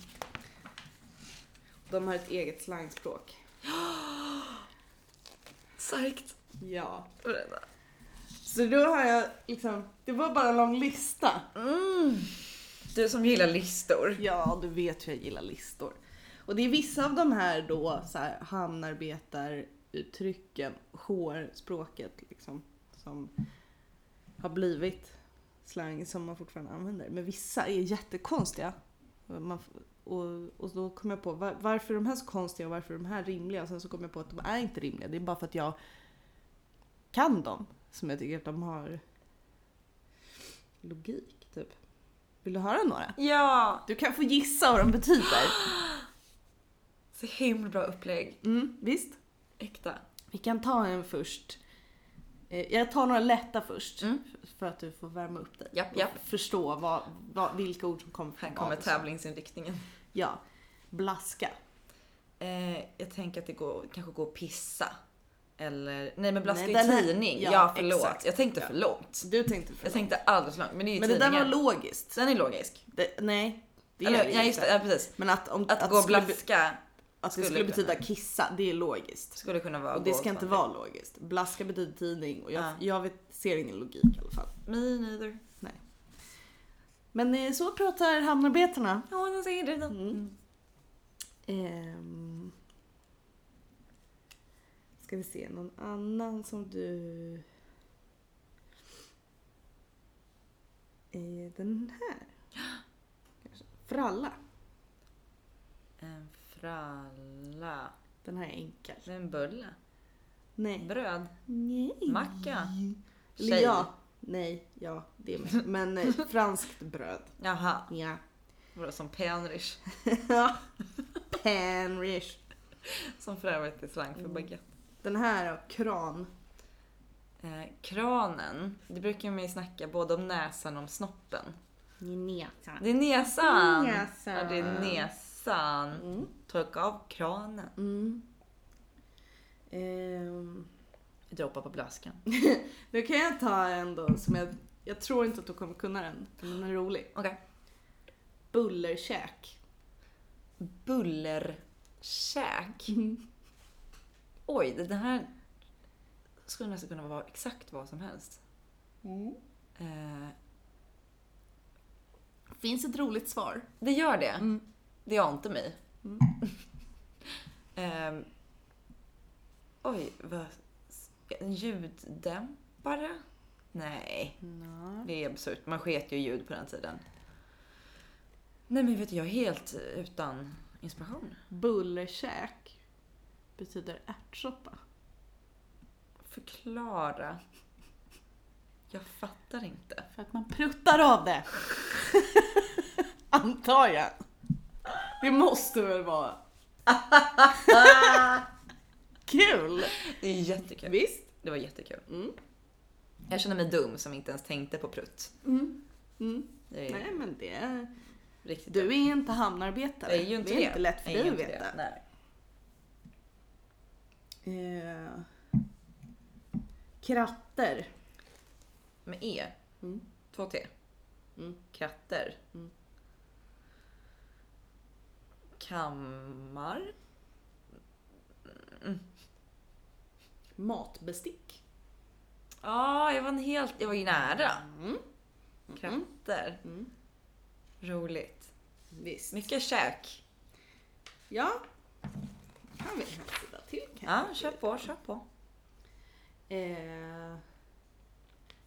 De har ett eget slangspråk.
Starkt.
Ja. Så då har jag liksom, det var bara en lång lista.
Mm. Du som gillar listor.
Ja, du vet hur jag gillar listor. Och det är vissa av de här då, så här, hamnarbetaruttrycken, HR-språket liksom, som har blivit slang som man fortfarande använder. Men vissa är jättekonstiga. Och Man, f- och, och då kom jag på var, varför är de här så konstiga och varför är de här rimliga? Och sen så kom jag på att de är inte rimliga. Det är bara för att jag kan dem som jag tycker att de har logik, typ. Vill du höra några?
Ja!
Du kan få gissa vad de betyder.
Så himla bra upplägg.
Mm, visst?
Äkta.
Vi kan ta en först. Eh, Jag tar några lätta först
Mm.
f- för att du får värma upp dig.
Japp, japp.
Och förstå vad, vad, vilka ord som kommer från
Här kommer
vad och så.
tävlingsinriktningen.
Ja. Blaska.
Eh, jag tänker att det går, kanske går att pissa. Eller, nej men blaska
Nej,
i
den här-
tidning.
ja,
Ja, förlåt.
exakt.
Jag tänkte för långt.
Du tänkte
Jag tänkte alldeles för långt. Men det är ju
Men det där var
tidningar.
logiskt.
Den är logisk.
Det, nej. Det är
Eller,
det
ja,
ju
just det.
inte.
Ja, precis.
Men att, om,
Att, gå och
skulle, be-
blaska
att det
skulle
skulle
kunna.
betyda kissa, det är logiskt.
skulle kunna vara
Och det
gå
ska inte
vandra.
vara logiskt. Blaska betyder tidning och jag,
Ja.
jag vet, ser ingen logik i alla fall.
Me neither.
Men eh, så pratar hamnarbetarna.
Ja, den säger det. då.
Mm. Ehm. Ska vi se, någon annan som du... Eh, Den här. Kanske. Fralla.
En fralla.
Den här är enkel.
En bulle.
Nej.
Bröd.
Nej.
Macka.
Eller ja. Nej, ja, det är med. Men eh, franskt bröd.
Jaha.
Ja.
Vadå, som penrish.
Panrish.
Som för övrigt är slang
Mm.
för baguette.
Den här då, kran.
Eh, kranen. Det brukar man ju snacka både om näsan och om snoppen.
Gneta.
Det är näsan!
Näsan.
Ja, det är näsan.
Mm.
Torka av kranen.
Mm. Ehm.
Droppa på blaskan.
Nu kan jag ta en då som jag, jag tror inte att du kommer kunna den, men den är rolig.
Okej.
Bullerkäk.
Bullerkäk. Oj, det det här skulle nästan kunna vara exakt vad som helst. Eh,
Finns ett roligt svar.
det gör det.
Mm.
Det är inte mig. Ehm, oj, vad... En ljuddämpare? Nej, det är absurt. Man sket ju i ljud på den tiden. Nej men vet du, jag är helt utan inspiration.
Bullerkäk betyder ärtsoppa.
Förklara. Jag fattar inte.
För att man pruttar av det. Antar jag. Det måste väl vara. Kul!
Det är jättekul.
Visst?
Det var jättekul.
Mm.
Jag känner mig dum som inte ens tänkte på prutt.
Mm. Mm.
Det är
Nej men det...
riktigt
Du är inte hamnarbetare.
det är ju inte det.
det är inte lätt för
Det är
dig
ju
att
inte
veta.
det. Nej.
Eh, kratter.
Med E.
Mm.
Två T.
Mm.
Kratter.
Mm.
Kammar.
Matbestick.
Ja, jag var en helt... Jag var ju nära.
Mm.
Kratter.
Mm.
Roligt.
Visst.
Mycket käk.
Ja. Kan vi en sida till
Ja,
kanske?
kör på, kör på.
Eh,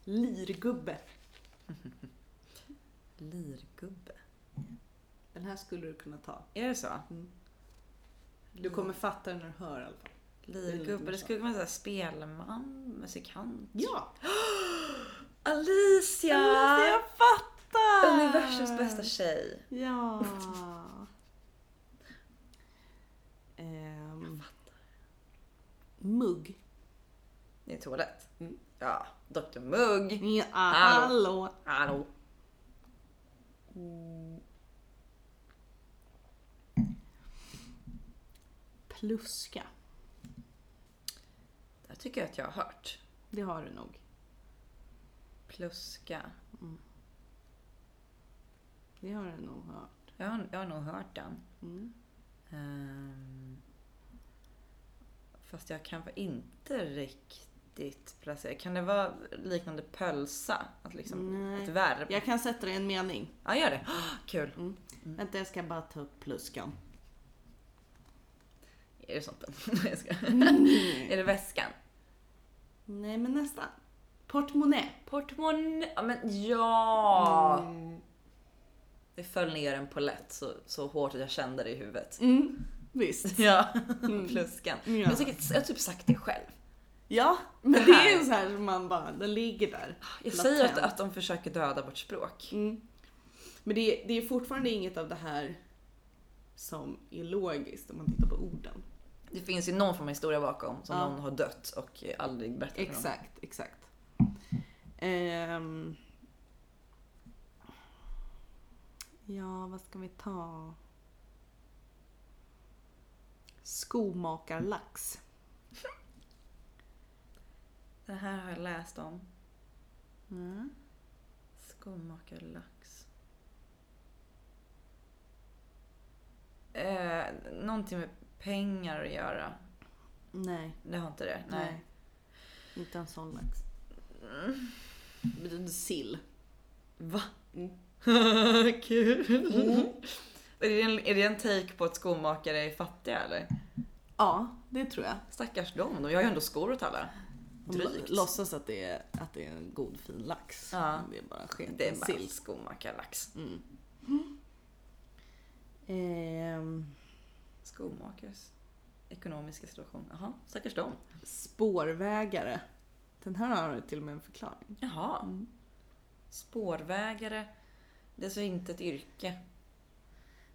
lirgubbe.
Lirgubbe.
Den här skulle du kunna ta.
Är det så?
Du kommer fatta den när du hör i alla fall.
Lirgubbe, det skulle kunna vara så här spelman, musikant.
Ja!
Alicia!
Alicia, jag fattar!
Universums bästa tjej.
Ja. Ehm, mugg.
Det är toalett.
Mm.
Ja, Dr Mugg.
Ja,
Hallå. Hallå.
Pluska.
Det här tycker jag att jag har hört.
Det har du nog.
Pluska.
Det har du nog hört.
Jag har, jag har nog hört den.
Mm.
Ehm, fast jag kanske inte riktigt placera. Kan det vara liknande pölsa? Att liksom,
Nej.
ett verb?
Jag kan sätta dig i en mening.
Ja, gör det. Kul.
Vänta, jag ska bara ta upp pluskan.
Är det sånt? Jag ska-
Mm.
är det väskan?
Nej, men nästan. Portmonnä.
Portmonnä. Ja, men ja!
Mm.
Det föll ner en polett så, så hårt att jag kände det i huvudet.
Mm, visst. Mm.
Ja, pluskan. Men jag,
Ja.
tycker- jag har typ sagt det själv.
Ja, men det är ju så här som man bara, den ligger där.
Jag säger att,
Latent.
att de försöker döda vårt språk.
Mm. Men det, det är fortfarande inget av det här som är logiskt om man tittar på orden.
Det finns ju någon form av historia bakom som
Ja.
någon har dött och eh, aldrig berättat för någon.
Exakt, exakt. Ehm. Ja, vad ska vi ta? Skomakarlax.
Den här har jag läst om. Mm. Skomakarlax. Eh, någonting med pengar att göra.
Nej,
Det har inte det?
nej. Inte en sån lax. Det betyder sill.
Va?
Mm.
Kul! Är, det en, är det en take på att skomakare är fattiga eller?
Ja, det tror jag.
Stackars dem, de gör ju ändå skor åt alla.
De
Drygt.
låtsas att det, är, att det är en god fin lax.
Ja.
Men Det är bara sketen
Det är bara
sill.
skomakarlax.
Mm. Ehm,
Skomakers ekonomiska situation. Jaha, stackars dem.
spårvägare. Den här har till och med en förklaring. Mm.
Jaha. Spårvägare. Det är så inte ett yrke.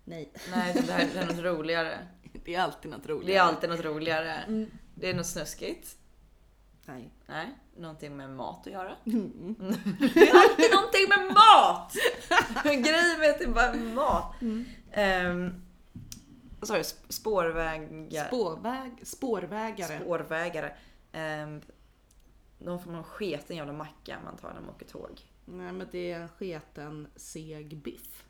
Nej.
Nej, det här det här är något roligare.
Det är alltid något roligt.
Det är alltid något roligare.
Mm.
Det är något snuskigt.
Nej.
Nej, någonting med mat att göra.
Mm.
Det är alltid någonting med mat! Grejen med att det är bara mat. Ehm, Vad sa du? Sp- Spårvägar.
Spårväg, spårvägare.
Spårvägare. Ehm, någon form av sketen jävla macka man tar när man åker tåg.
Nej men det är en sketen seg biff.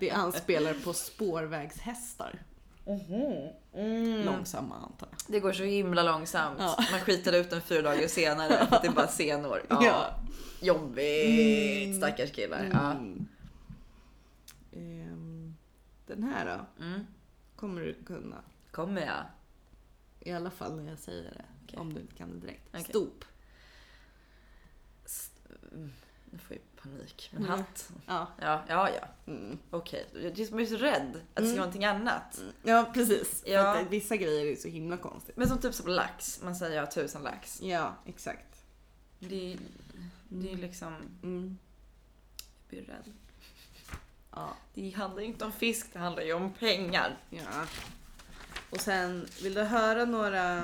det anspelar på spårvägshästar.
Mm.
Långsamma antar jag.
Det går så himla långsamt.
Ja.
Man skiter ut den fyra dagar senare för att det är bara senor. Ja. Mm.
Ja.
Jobbigt! Stackars killar. Ja.
Mm. Ehm, Den här då?
Mm.
kommer du kunna.
Kommer jag?
I alla fall när jag säger det.
Okej.
Om du inte kan det direkt.
Okej.
Stop.
S- mm, Nu får jag panik. Men hatt?
Ja.
Ja, ja, ja.
Mm.
Okej. Jag jag är så rädd att det ska vara någonting annat.
Ja, precis. För
Ja.
att vissa grejer är så himla konstigt.
Men som typ som lax. Man säger jag har tusen lax.
Ja, exakt.
Det är, det är liksom...
Mm.
Jag blir rädd.
Ja.
Det handlar ju inte om fisk, det handlar ju om pengar.
ja. Och sen, vill du höra några...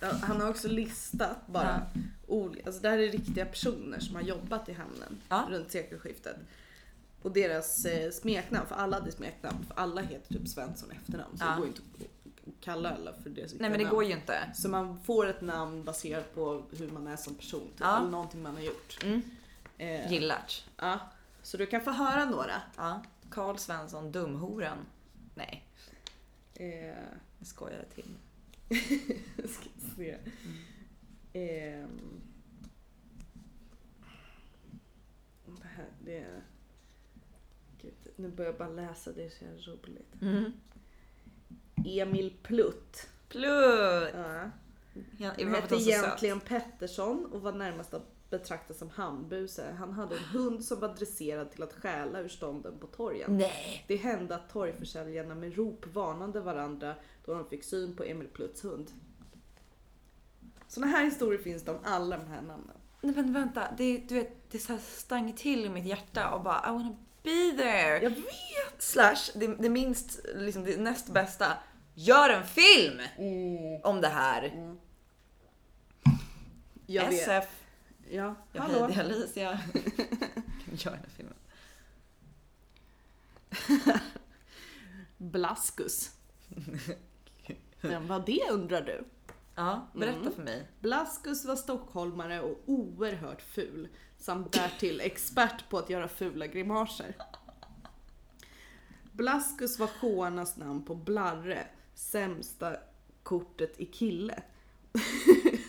Ja, han har också listat bara. Olika, alltså det här är riktiga personer som har jobbat i hamnen
Ja.
runt sekelskiftet. Och deras eh, smeknamn, för alla hade smeknamn, för alla heter typ Svensson i efternamn. Så
Ja.
det går inte att kalla alla för deras
Nej men det
namn.
går ju inte.
Så man får ett namn baserat på hur man är som person, typ,
Ja.
eller någonting man har gjort.
Mm.
Eh,
Gillart.
ja. Så du kan få höra några.
Ja. Karl Svensson, dumhoran. Nej,
Eh,
jag skojar till.
ska se. Ehm. det här, det är... Gud, nu börjar jag bara läsa, det är så jävla roligt.
Mm.
Emil Plutt.
Plutt!
Ja.
Ja,
Han hette egentligen Pettersson och var närmast att betraktas som hambuse. Han hade en hund som var dresserad till att stjäla ur stånden på torgen.
Nej!
Det hände att torgförsäljarna med rop varnade varandra då de fick syn på Emil Plutts hund. Såna här historier finns det om alla de här namnen.
Nej men vänta, det, du vet, det så här stang till i mitt hjärta och bara I wanna be there!
Jag
vet! Slash, det, det minst, liksom det näst bästa. Gör en film!
Mm.
Om det här!
Jag vet.
SF!
Ja,
Jag
hallå.
heter Alicia. Gör den här filmen.
Blaskus. Vem var det undrar du?
Ja, berätta
Mm.
för mig.
Blaskus var stockholmare och oerhört ful, samt därtill expert på att göra fula grimaser. Blaskus var Jonas namn på Blarre, sämsta kortet i kille.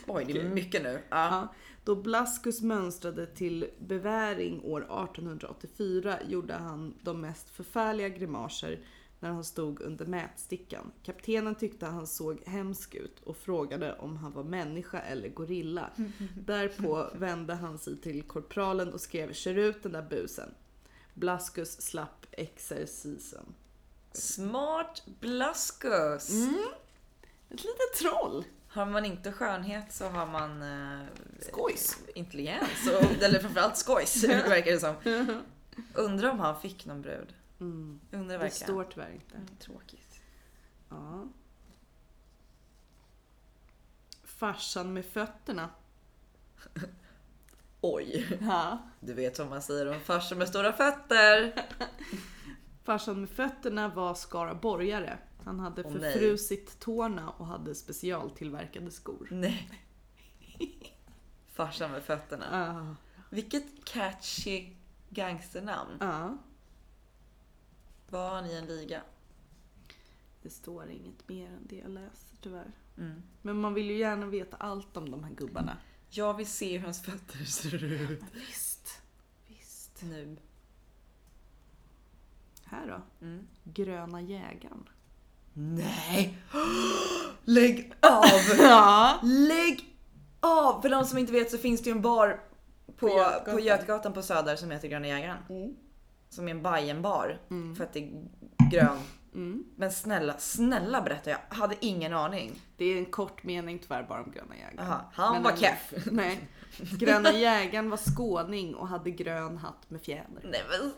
Oj, det är mycket nu. Ja.
Ja, då Blaskus mönstrade till beväring år 1884 gjorde han de mest förfärliga grimaser när han stod under mätstickan. Kaptenen tyckte han såg hemsk ut och frågade om han var människa eller gorilla. Därpå vände han sig till korpralen och skrev “Kör ut den där busen”. Blaskus slapp exercisen.
Smart blaskus!
Mm. Ett litet troll!
Har man inte skönhet så har man eh,
Skojs!
intelligens, och, eller framförallt skojs verkar det som. Undrar om han fick någon brud.
Mm.
Undrar
Det
verkligen.
står tyvärr inte.
Mm, Tråkigt.
Ja. Farsan med fötterna.
Oj,
Ja.
du vet vad man säger om farsor med stora fötter.
Farsan med fötterna var skaraborgare. Han hade
Åh, nej.
förfrusit tårna och hade specialtillverkade skor.
Nej. Farsan med fötterna.
Ja.
Vilket catchy gangsternamn.
Ja.
Var han i en liga?
Det står inget mer än det jag läser tyvärr.
Mm.
Men man vill ju gärna veta allt om de här gubbarna.
Jag vill se hur hans fötter ser ut.
Visst. Visst.
Nu.
Här då?
Mm.
Gröna jägaren.
Nej! Lägg av!
Ja.
Lägg av! För de som inte vet så finns det ju en bar på,
På Götgatan.
på Götgatan på Söder som heter Gröna Jägaren.
Mm.
Som är en Bajenbar
Mm.
för att det är grön.
Mm.
Men snälla, snälla berätta, jag hade ingen aning.
Det är en kort mening tyvärr bara om gröna jägaren.
Aha, han
Men
var keff.
Nej. Gröna jägaren var skåning och hade grön hatt med fjäder.
Nej men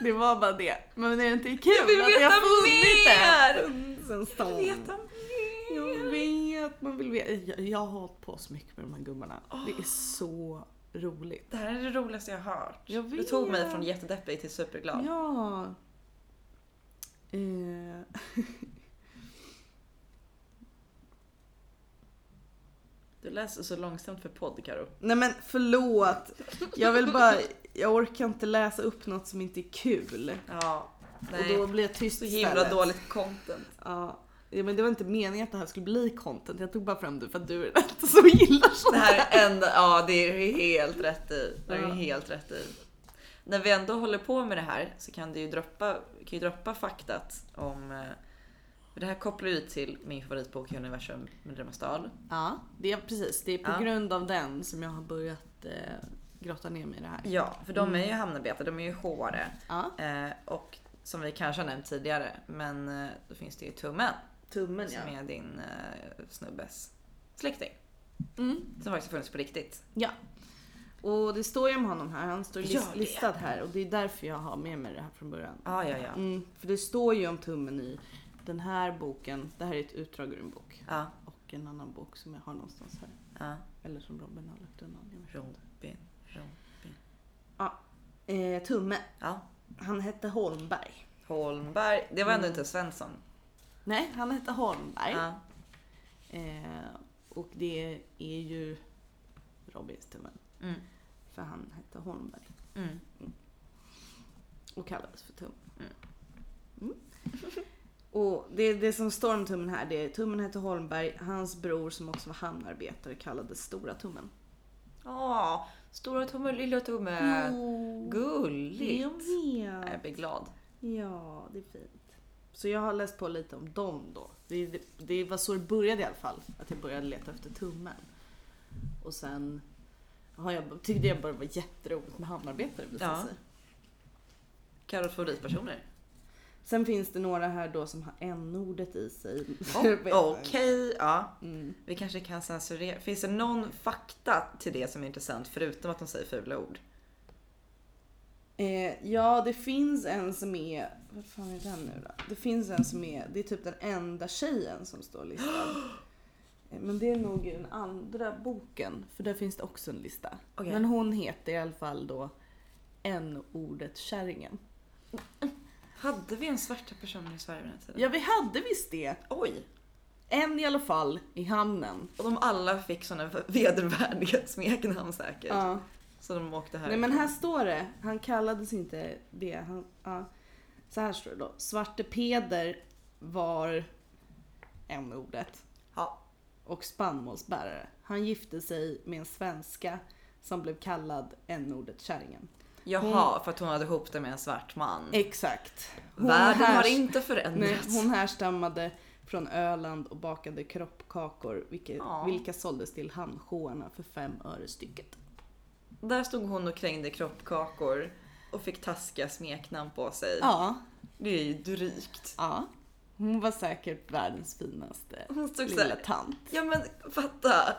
Det var bara det. Men är det inte kul
jag vill
att jag
veta
funnit det?
mer!
Sen
Jag
stan.
vill veta mer!
Jag vet, man vill veta. Jag, jag har hållit på så mycket med de här gubbarna. Det
Ah.
är så roligt.
Det här är det roligaste jag har hört.
Jag
Du tog mig
vet.
från jättedeppig till superglad.
Ja. Eh.
Du läser så långsamt för podd Karo.
Nej men förlåt. Jag vill bara, jag orkar inte läsa upp något som inte är kul.
Ja,
Och
nej.
då blir jag tyst
Så himla
istället.
dåligt content.
Ja. Ja, men det var inte meningen att det här skulle bli content. Jag tog bara fram det för att du inte så gillar sånt.
Det här är enda, ja det är helt rätt i. Det är
Ja.
helt rätt i. När vi ändå håller på med det här så kan du ju droppa, kan ju droppa faktat om... eh, För det här kopplar ju till min favoritbok i universum, Mildrömma stad.
Ja, det är, precis. Det är på
Ja.
grund av den som jag har börjat eh, grotta ner mig i det här.
Ja, för de är ju hamnarbetare, de är ju showare.
Mm. Ja.
Eh, och som vi kanske har nämnt tidigare, men eh, då finns det ju Tummen
Tummen ja.
som är din eh, snubbes släkting.
Mm.
Som faktiskt funnits på riktigt.
ja. Och det står ju om honom här, han står
Ja,
lis-
det.
listad här och det är därför jag har med mig det här från början.
Ah, ja, ja,
Mm, för det står ju om tummen i den här boken, det här är ett utdrag ur en bok.
ja.
Och en annan bok som jag har någonstans här.
ja.
Eller som Robin har lagt undan. jag vet inte.
Robin, Robin.
Eh, tumme,
Ja.
han hette Holmberg.
Holmberg. Det var ändå inte Svensson.
Nej, han hette Holmberg.
Ja.
Eh, och det är ju Robins tumme.
Mm.
För han hette Holmberg
Mm.
och kallades för Tummen.
Mm.
Mm. Och det, det som står om Tummen här, det är Tummen hette Holmberg, hans bror som också var hamnarbetare kallades Stora Tummen.
Åh, stora tumme, lilla tumme.
Eh, Jo,
Gulligt.
jag vet.
Nej, Jag blir glad.
Ja, det är fint. Så jag har läst på lite om dem då. Det, det, det var så det började i alla fall, att jag började leta efter Tummen. Och sen har jag, tyckte jag bara det var jätteroligt med hamnarbetare visade
Ja.
sig.
Karos favoritpersoner.
Sen finns det några här då som har n-ordet i sig.
Okej, ja.
Mm.
Vi kanske kan censurera. Finns det någon fakta till det som är intressant förutom att de säger fula ord?
Eh, ja, det finns en som är... Vad fan är den nu då? Det finns en som är... Det är typ den enda tjejen som står listad. Eh, Men det är nog i den andra boken, för där finns det också en lista.
Okej.
Men hon heter i alla fall då n-ordet Kärringen.
Hade vi en svarta person i Sverige vid den här tiden?
Ja, vi hade visst det!
Oj!
En i alla fall i hamnen.
Och de alla fick sådana vedervärdiga smeknamn säkert.
Ja.
Så de åkte här.
Nej men här står det, han kallades inte det. Han, ja. Så här står det då. Svarte Peder var n-ordet
Ja.
och spannmålsbärare. Han gifte sig med en svenska som blev kallad n-ordet kärringen.
Mm. Jaha, för att hon hade ihop det med en svart man.
Exakt. Hon
Världen
härs-
har inte
Nej,
förändrats.
hon härstammade från Öland och bakade kroppkakor vilket,
Ja.
vilka såldes till hamnsjöarna för fem öre stycket.
Där stod hon och krängde kroppkakor och fick taskiga smeknamn på sig.
Ja,
Det är ju drygt.
ja. Hon var säkert världens finaste
Hon stod
lilla Mm.
såhär,
tant.
ja men fatta.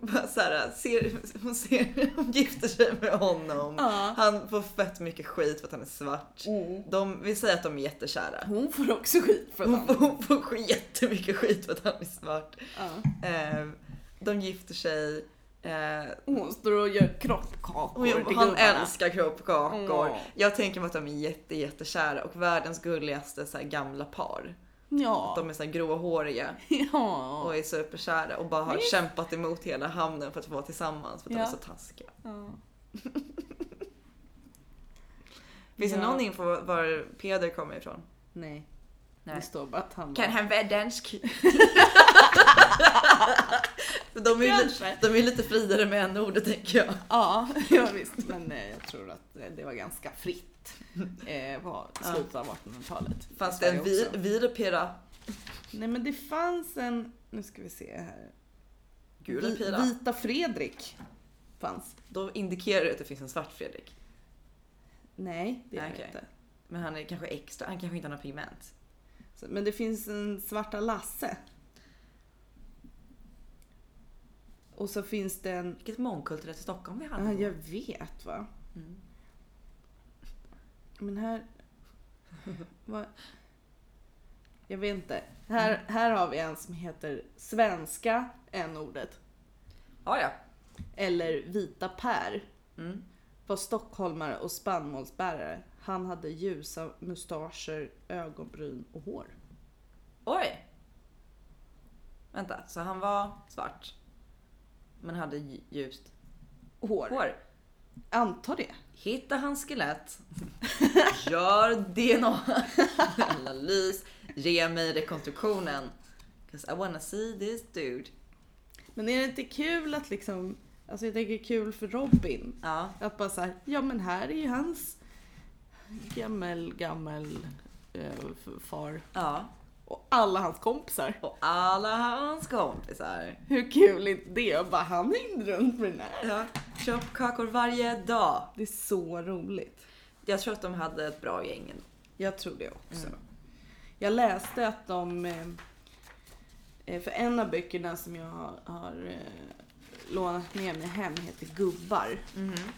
Bara så här, ser, hon, ser, hon gifter sig med honom.
Ja.
Han får fett mycket skit för att han är svart. De, vi säger att de är jättekära.
Mm. Hon får också skit för
Hon
honom.
får, hon får jättemycket skit för att han är svart.
Ja.
Eh, de gifter sig. Eh,
Hon står och gör kroppkakor till
hon, han
gubbarna.
älskar kroppkakor.
Ja.
Jag tänker mig att de är jätte, jättekära och världens gulligaste så här, gamla par.
Ja.
De är så här, gråhåriga
ja.
och är superkära och bara har
Visst.
kämpat emot hela hamnen för att få vara tillsammans för att
Ja.
de är så taskiga.
ja.
Finns det
Ja.
någon info var- var Peder kommer ifrån?
Nej.
Nej.
Det står bara att han
Kan
var...
han vara dansk? de, är ju lite,
Kanske.
de är lite friare med en ordet tänker jag.
Ja, ja, visst. Men eh, jag tror att eh, det var ganska fritt eh, på
Ja.
slutet av 1800-talet.
Fanns det
Sverige
en vir,
också.
virpira?
Nej men det fanns en, nu ska vi se här.
Gula
Vi-
pira.
Vita Fredrik fanns.
Då indikerar det att det finns en svart Fredrik.
Nej, det gör
Okej.
det inte.
Men han är kanske extra, han kanske inte har något pigment.
Så, men det finns en Svarta Lasse. Och så finns det en,
Vilket mångkulturellt Stockholm vi hade.
ja jag vet va.
Mm.
Men här... Vad, jag vet inte. Här, här har vi en som heter Svenska, en ordet
Ja, ja.
Eller Vita Per.
Mm.
Var stockholmare och spannmålsbärare. Han hade ljusa mustascher, ögonbryn och hår.
Oj! Vänta, så han var svart. Men hade lj- ljust
Hår.
hår.
Anta det.
Hittar han skelett, gör DNA-analys, ge mig rekonstruktionen. 'Cause I wanna see this dude.
Men är det inte kul att liksom... Alltså jag tänker kul för Robin.
Ja,
Att bara såhär, ja men här är ju hans gammel, gammel eh, far.
ja.
Och alla hans kompisar.
Och alla hans kompisar.
Hur kul är inte det? Och bara han är inte runt med den här.
Ja, köpkakor varje dag.
Det är så roligt.
Jag tror att de hade ett bra gäng. ändå.
Jag tror det också.
Mm.
Jag läste att de... eh, eh, För en av böckerna som jag har, har eh, lånat med mig hem heter Gubbar.
Mm-hmm.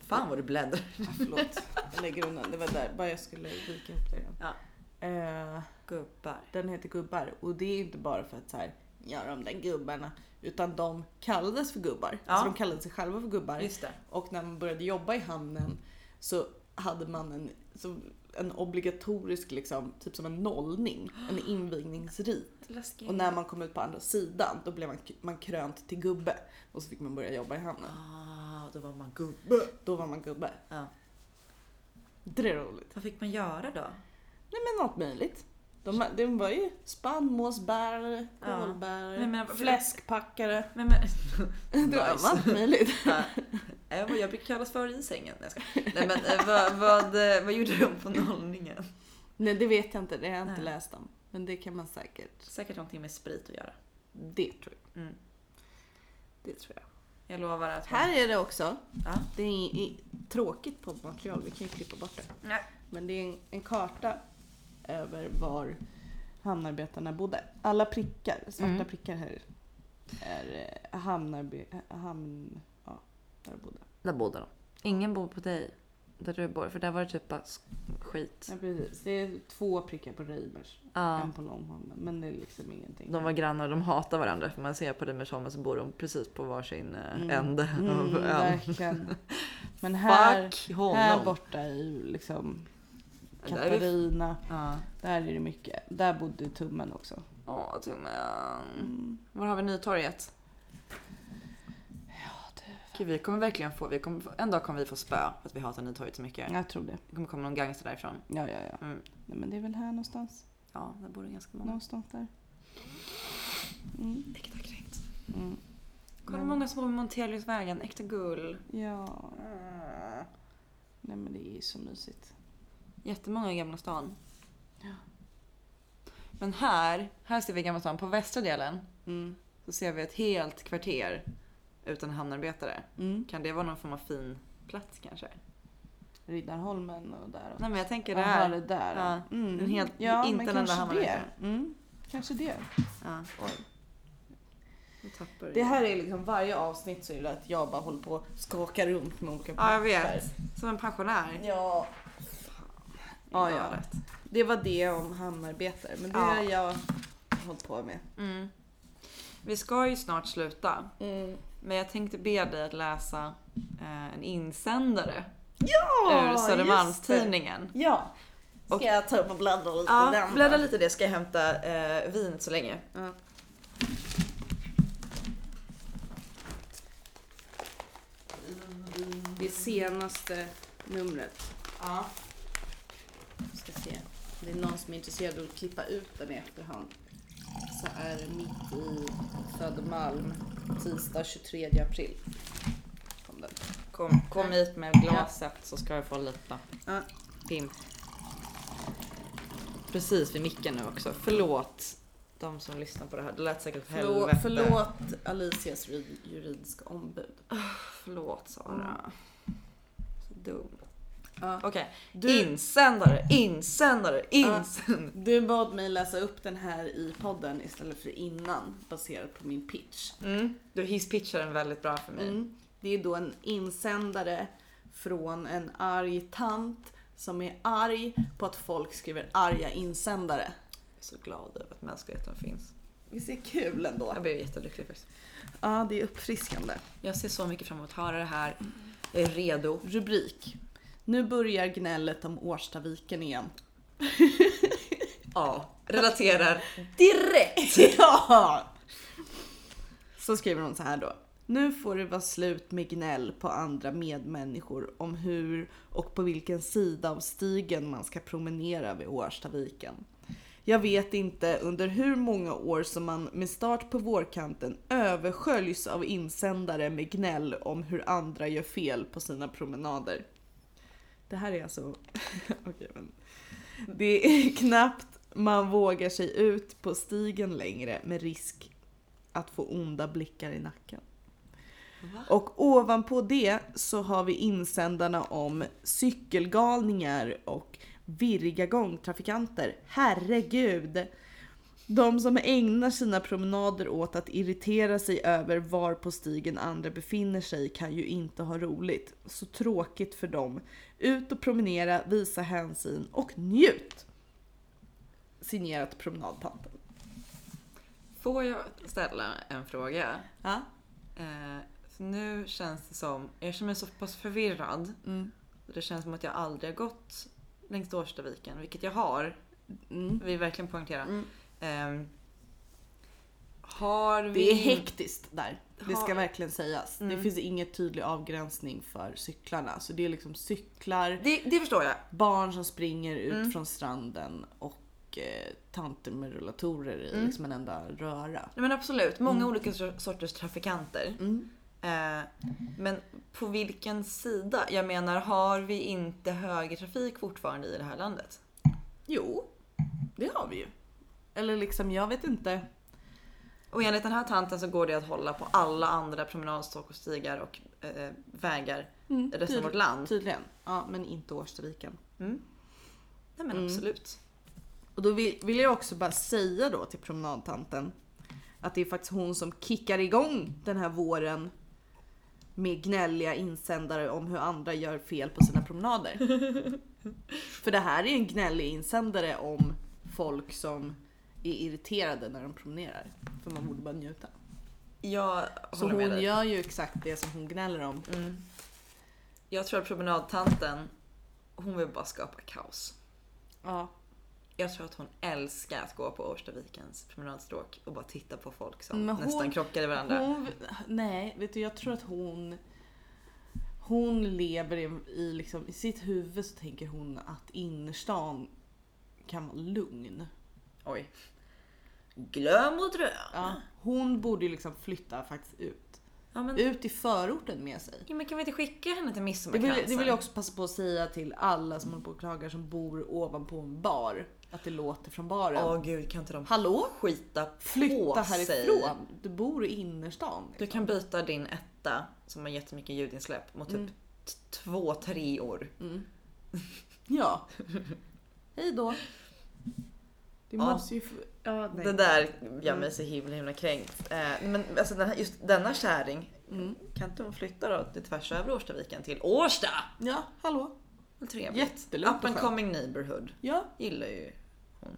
Fan vad du bläddrar.
Ah, förlåt, jag lägger undan. Det var där, bara jag skulle vika upp det igen.
Ja.
Eh,
Gubbar.
den heter Gubbar och det är inte bara för att så här, ja de där gubbarna. Utan de kallades för gubbar.
Ja.
Alltså de kallade sig själva för gubbar.
Just det.
Och när man började jobba i hamnen så hade man en, så en obligatorisk, liksom, typ som en nollning, en invigningsrit.
Läskigt.
Och när man kom ut på andra sidan då blev man, man krönt till gubbe och så fick man börja jobba i hamnen.
Ah, då var man gubbe.
Då var man gubbe.
Ja.
Det är roligt.
Vad fick man göra då?
Nej men allt möjligt. De, det var ju spannmålsbärare,
Ja.
kålbärare,
Men- men-
fläskpackare.
Men, men,
Det var allt möjligt.
Ja. Eh, vad jag brukar kallas för i sängen. Nej, jag skojar. Nej men eh, vad, vad, eh, vad gjorde de på nollningen?
Nej det vet jag inte, det har jag inte
Nej.
läst om. Men det kan man säkert.
Säkert någonting med sprit att göra.
Det tror jag.
Mm.
Det tror jag.
Jag lovar att... man-
Här är det också.
Ja.
Det är i- i- tråkigt poddmaterial, vi kan ju klippa bort det.
Nej.
Men det är en, en karta över var hamnarbetarna bodde. Alla prickar, svarta
Mm.
prickar här, är eh, hamnarbe... hamn... ja, där de bodde.
Där bodde de. Ingen bor på dig. Där du bor. För där var det typ bara sk- skit.
Ja, precis. Det är två prickar på Reimers,
Ja.
en på Långholmen, men det är liksom ingenting.
De var grannar och de hatar varandra. För man ser på Rimersholmen så bor de precis på varsin eh,
Mm.
ände
Mm,
av ön.
verkligen. Men här,
Fuck honom.
här borta i liksom
Där är vi-
Katarina,
Ja.
där är det mycket. Där bodde Tummen också.
Åh,
Mm.
tummen. Var har vi Nytorget? Gud, vi kommer verkligen få, vi kommer få, en dag kommer vi få spö för att vi hatar Nytorget så mycket.
Jag tror det.
Det kommer komma någon gangster därifrån.
Ja, ja, ja.
Mm.
Nej, men det är väl här någonstans.
Ja, det bor det ganska många.
Någonstans där. Mm.
Vilket var grymt.
Mm.
Kolla hur många som bor vid Monteliusvägen, äkta gull.
Ja. Nej men det är ju så mysigt.
Jättemånga i Gamla stan. Men här, här ser vi Gamla stan. På västra delen
Mm.
så ser vi ett helt kvarter utan hamnarbetare.
Mm.
Kan det vara någon form av fin plats kanske?
Riddarholmen och där. Och...
Nej men jag tänker det
Jaha,
här.
det där.
Ja.
Mm.
En helt-
ja,
inte
men
en enda
kanske
hammare,
det. Mm. Kanske det.
Ja.
Oj.
Nu tappar
Det här är liksom varje avsnitt så är det att jag bara håller på och skakar runt med olika
Ja jag vet.
papper.
Som en pensionär.
Ja. Ja, ja.
Rätt.
Det var det om hamnarbetare. Men det
Ja.
har jag hållit på med.
Mm. Vi ska ju snart sluta. Men jag tänkte be dig att läsa eh, en insändare
Ja,
ur
Ah, just det.
Södermalmstidningen.
Ja. Ska
Och-
jag ta upp och bläddra lite i
Ja,
den
bläddra
då?
lite i det ska jag hämta eh, vinet så länge.
Ja. Det senaste numret.
Ja.
Ska se. Det är någon som är intresserad av att klippa ut den i efterhand. Så är det mitt i Södermalm tisdag 23 april. Kom den.
Kom, kom hit med glaset så ska jag få lite
Ja.
pimp. Precis vid micken nu också. Förlåt de som lyssnar på det här. Det lät säkert åt
Förlåt,
helvete.
förlåt Alicias ju- juridiska ombud.
Förlåt Sara. Så dumt.
Ja.
Okej,
Du-
insändare, insändare, insändare.
Du bad mig läsa upp den här i podden istället för innan baserat på min pitch.
Mm, du hisspitchar den väldigt bra för mig.
Mm. Det är då en insändare från en arg tant som är arg på att folk skriver arga insändare.
Jag är så glad över att mänskligheten finns.
Visst är det kul ändå?
Jag blev jättelycklig faktiskt.
Ja, det är uppfriskande.
Jag ser så mycket fram emot att höra det här. Jag är redo.
Rubrik. Nu börjar gnället om Årstaviken igen.
Ja, relaterar.
Direkt! ja! Så skriver hon så här då. Nu får det vara slut med gnäll på andra medmänniskor om hur och på vilken sida av stigen man ska promenera vid Årstaviken. Jag vet inte under hur många år som man med start på vårkanten översköljs av insändare med gnäll om hur andra gör fel på sina promenader. Det här är alltså... Okej, men... Det är knappt man vågar sig ut på stigen längre med risk att få onda blickar i nacken. Och ovanpå det så har vi insändarna om cykelgalningar och virriga gångtrafikanter. Herregud! De som ägnar sina promenader åt att irritera sig över var på stigen andra befinner sig kan ju inte ha roligt. Så tråkigt för dem. Ut och promenera, visa hänsyn och njut! Signerat promenadtanten.
Får jag ställa en fråga?
Ja.
Eh, för nu känns det som, jag känner mig så pass förvirrad.
Mm.
Det känns som att jag aldrig har gått längs Årstaviken, vilket jag har.
Mm.
Vi verkligen poängtera.
Mm.
Ehm, har vi...
Det är hektiskt där. Det
Har-
ska verkligen sägas.
Mm.
Det finns ingen tydlig avgränsning för cyklarna. Så det är liksom cyklar,
Det, det förstår jag.
barn som springer ut
Mm.
från stranden och eh, tanter med rullatorer i
Mm.
liksom en enda röra.
Nej, men absolut, många
Mm.
olika sor- sorters trafikanter.
Mm.
Eh, men på vilken sida? Jag menar, har vi inte högertrafik fortfarande i det här landet?
Jo, det har vi ju. Eller liksom, jag vet inte.
Och enligt den här tanten så går det att hålla på alla andra promenadstråk och stigar och eh, vägar
Mm,
i resten av vårt land.
Tydligen. Ja, men inte Årstaviken.
Nej men
Mm.
absolut.
Och då vill, vill jag också bara säga då till promenadtanten att det är faktiskt hon som kickar igång den här våren med gnälliga insändare om hur andra gör fel på sina promenader. För det här är en gnällig insändare om folk som är irriterade när de promenerar. För man borde bara njuta.
Jag
Så
håller med
hon
dig.
gör ju exakt det som hon gnäller om.
Mm. Jag tror att promenadtanten, hon vill bara skapa kaos.
Ja.
Jag tror att hon älskar att gå på Årstavikens promenadstråk och bara titta på folk som
Men hon-
nästan krockade varandra.
Hon, nej, vet du jag tror att hon Hon lever i, i, liksom, i sitt huvud så tänker hon att innerstan kan vara lugn.
Oj. Glöm och dröm.
Ja. Hon borde ju liksom flytta faktiskt ut.
Ja, men,
Ut i förorten med sig.
ja, men kan vi inte skicka henne till
Det vill,
Midsommarkransen?
det vill jag också passa på att säga till alla som håller på och klagar som bor ovanpå en bar. Att det låter från baren.
Åh gud, kan inte de
Hallå?
skita på
Flytta
sig?
härifrån! Du bor i innerstan.
Du kan byta din etta som har jättemycket ljudinsläpp mot
Mm.
typ t- två treor.
Ja. Hej då. Det
Ja.
måste ju... f- Ja, nej.
Det där gör mig så himla himla kränkt. Eh, men alltså den här, just denna kärring,
Mm.
kan inte hon flytta då till tvärs över Årstaviken till Årsta?
Ja, hallå.
Vad Trevligt.
Jättelugnt
Up and
och skönt.
coming neighborhood.
Ja,
Gillar ju.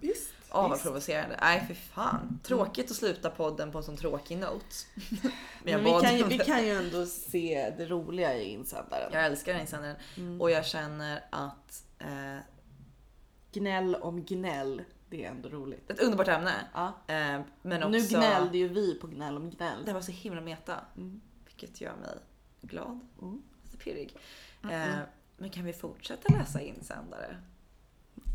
visst.
Ja vad provocerande. Nej för fan. Tråkigt att sluta podden på en sån tråkig note. Men jag
Men vi,
bad
kan ju,
om
vi
det.
kan ju ändå se det roliga i insändaren.
Jag älskar den insändaren.
Mm.
Och jag känner att eh,
Gnäll om gnäll. Det är ändå roligt.
ett underbart ämne.
Ja.
Eh, men också...
Nu gnällde Mm. ju vi på gnäll om gnäll.
Det var så himla meta. Vilket gör mig glad.
Mm.
Lite pirrig. Eh, men kan vi fortsätta läsa insändare?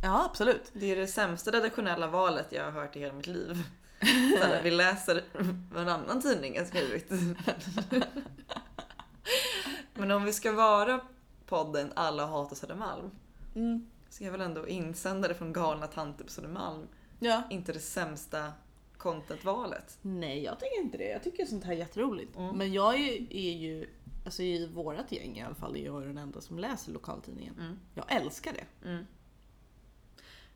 Ja, absolut.
Det är det sämsta redaktionella valet jag har hört i hela mitt liv. Såhär, vi läser vad en annan tidning har skrivit. Men om vi ska vara podden Alla hatar Södermalm.
Mm.
Så är väl ändå insändare från galna tanter på Södermalm
Ja.
inte det sämsta contentvalet.
Nej, jag tycker inte det. Jag tycker sånt här är jätteroligt. Men jag är, är ju, alltså i vårat gäng i alla fall, är jag den enda som läser lokaltidningen.
Mm.
Jag älskar det.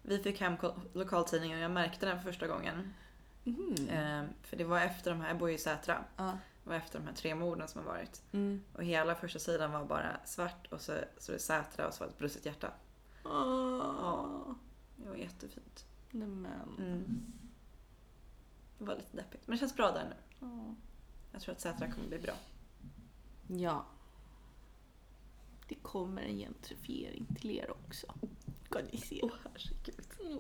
Vi fick hem ko- lokaltidningen och jag märkte den för första gången.
Mm.
Eh, för det var efter de här, jag bor ju i Sätra.
Ja.
Det var efter de här tre morden som har varit. Och hela första sidan var bara svart och så, så det är Sätra och så var det ett brustet hjärta.
Åh,
Det var jättefint.
nej men.
Mm. Det var lite deppigt. Men det känns bra där nu. Jag tror att Sätra kommer bli bra.
Ja. Det kommer en gentrifiering till er också. Kan ni se.
Åh herregud. Mm.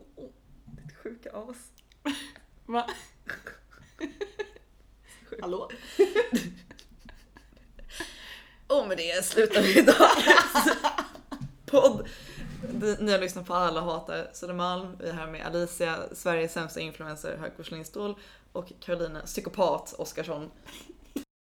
Ditt sjuka as.
Va? Hallå?
Och med det slutar vi idag. Podd. Ni- Ni har lyssnat på Alla hatar Södermalm. Vi är här med Alicia, Sveriges sämsta influencer, Högfors Lindstål och Carolina, psykopat Oskarsson.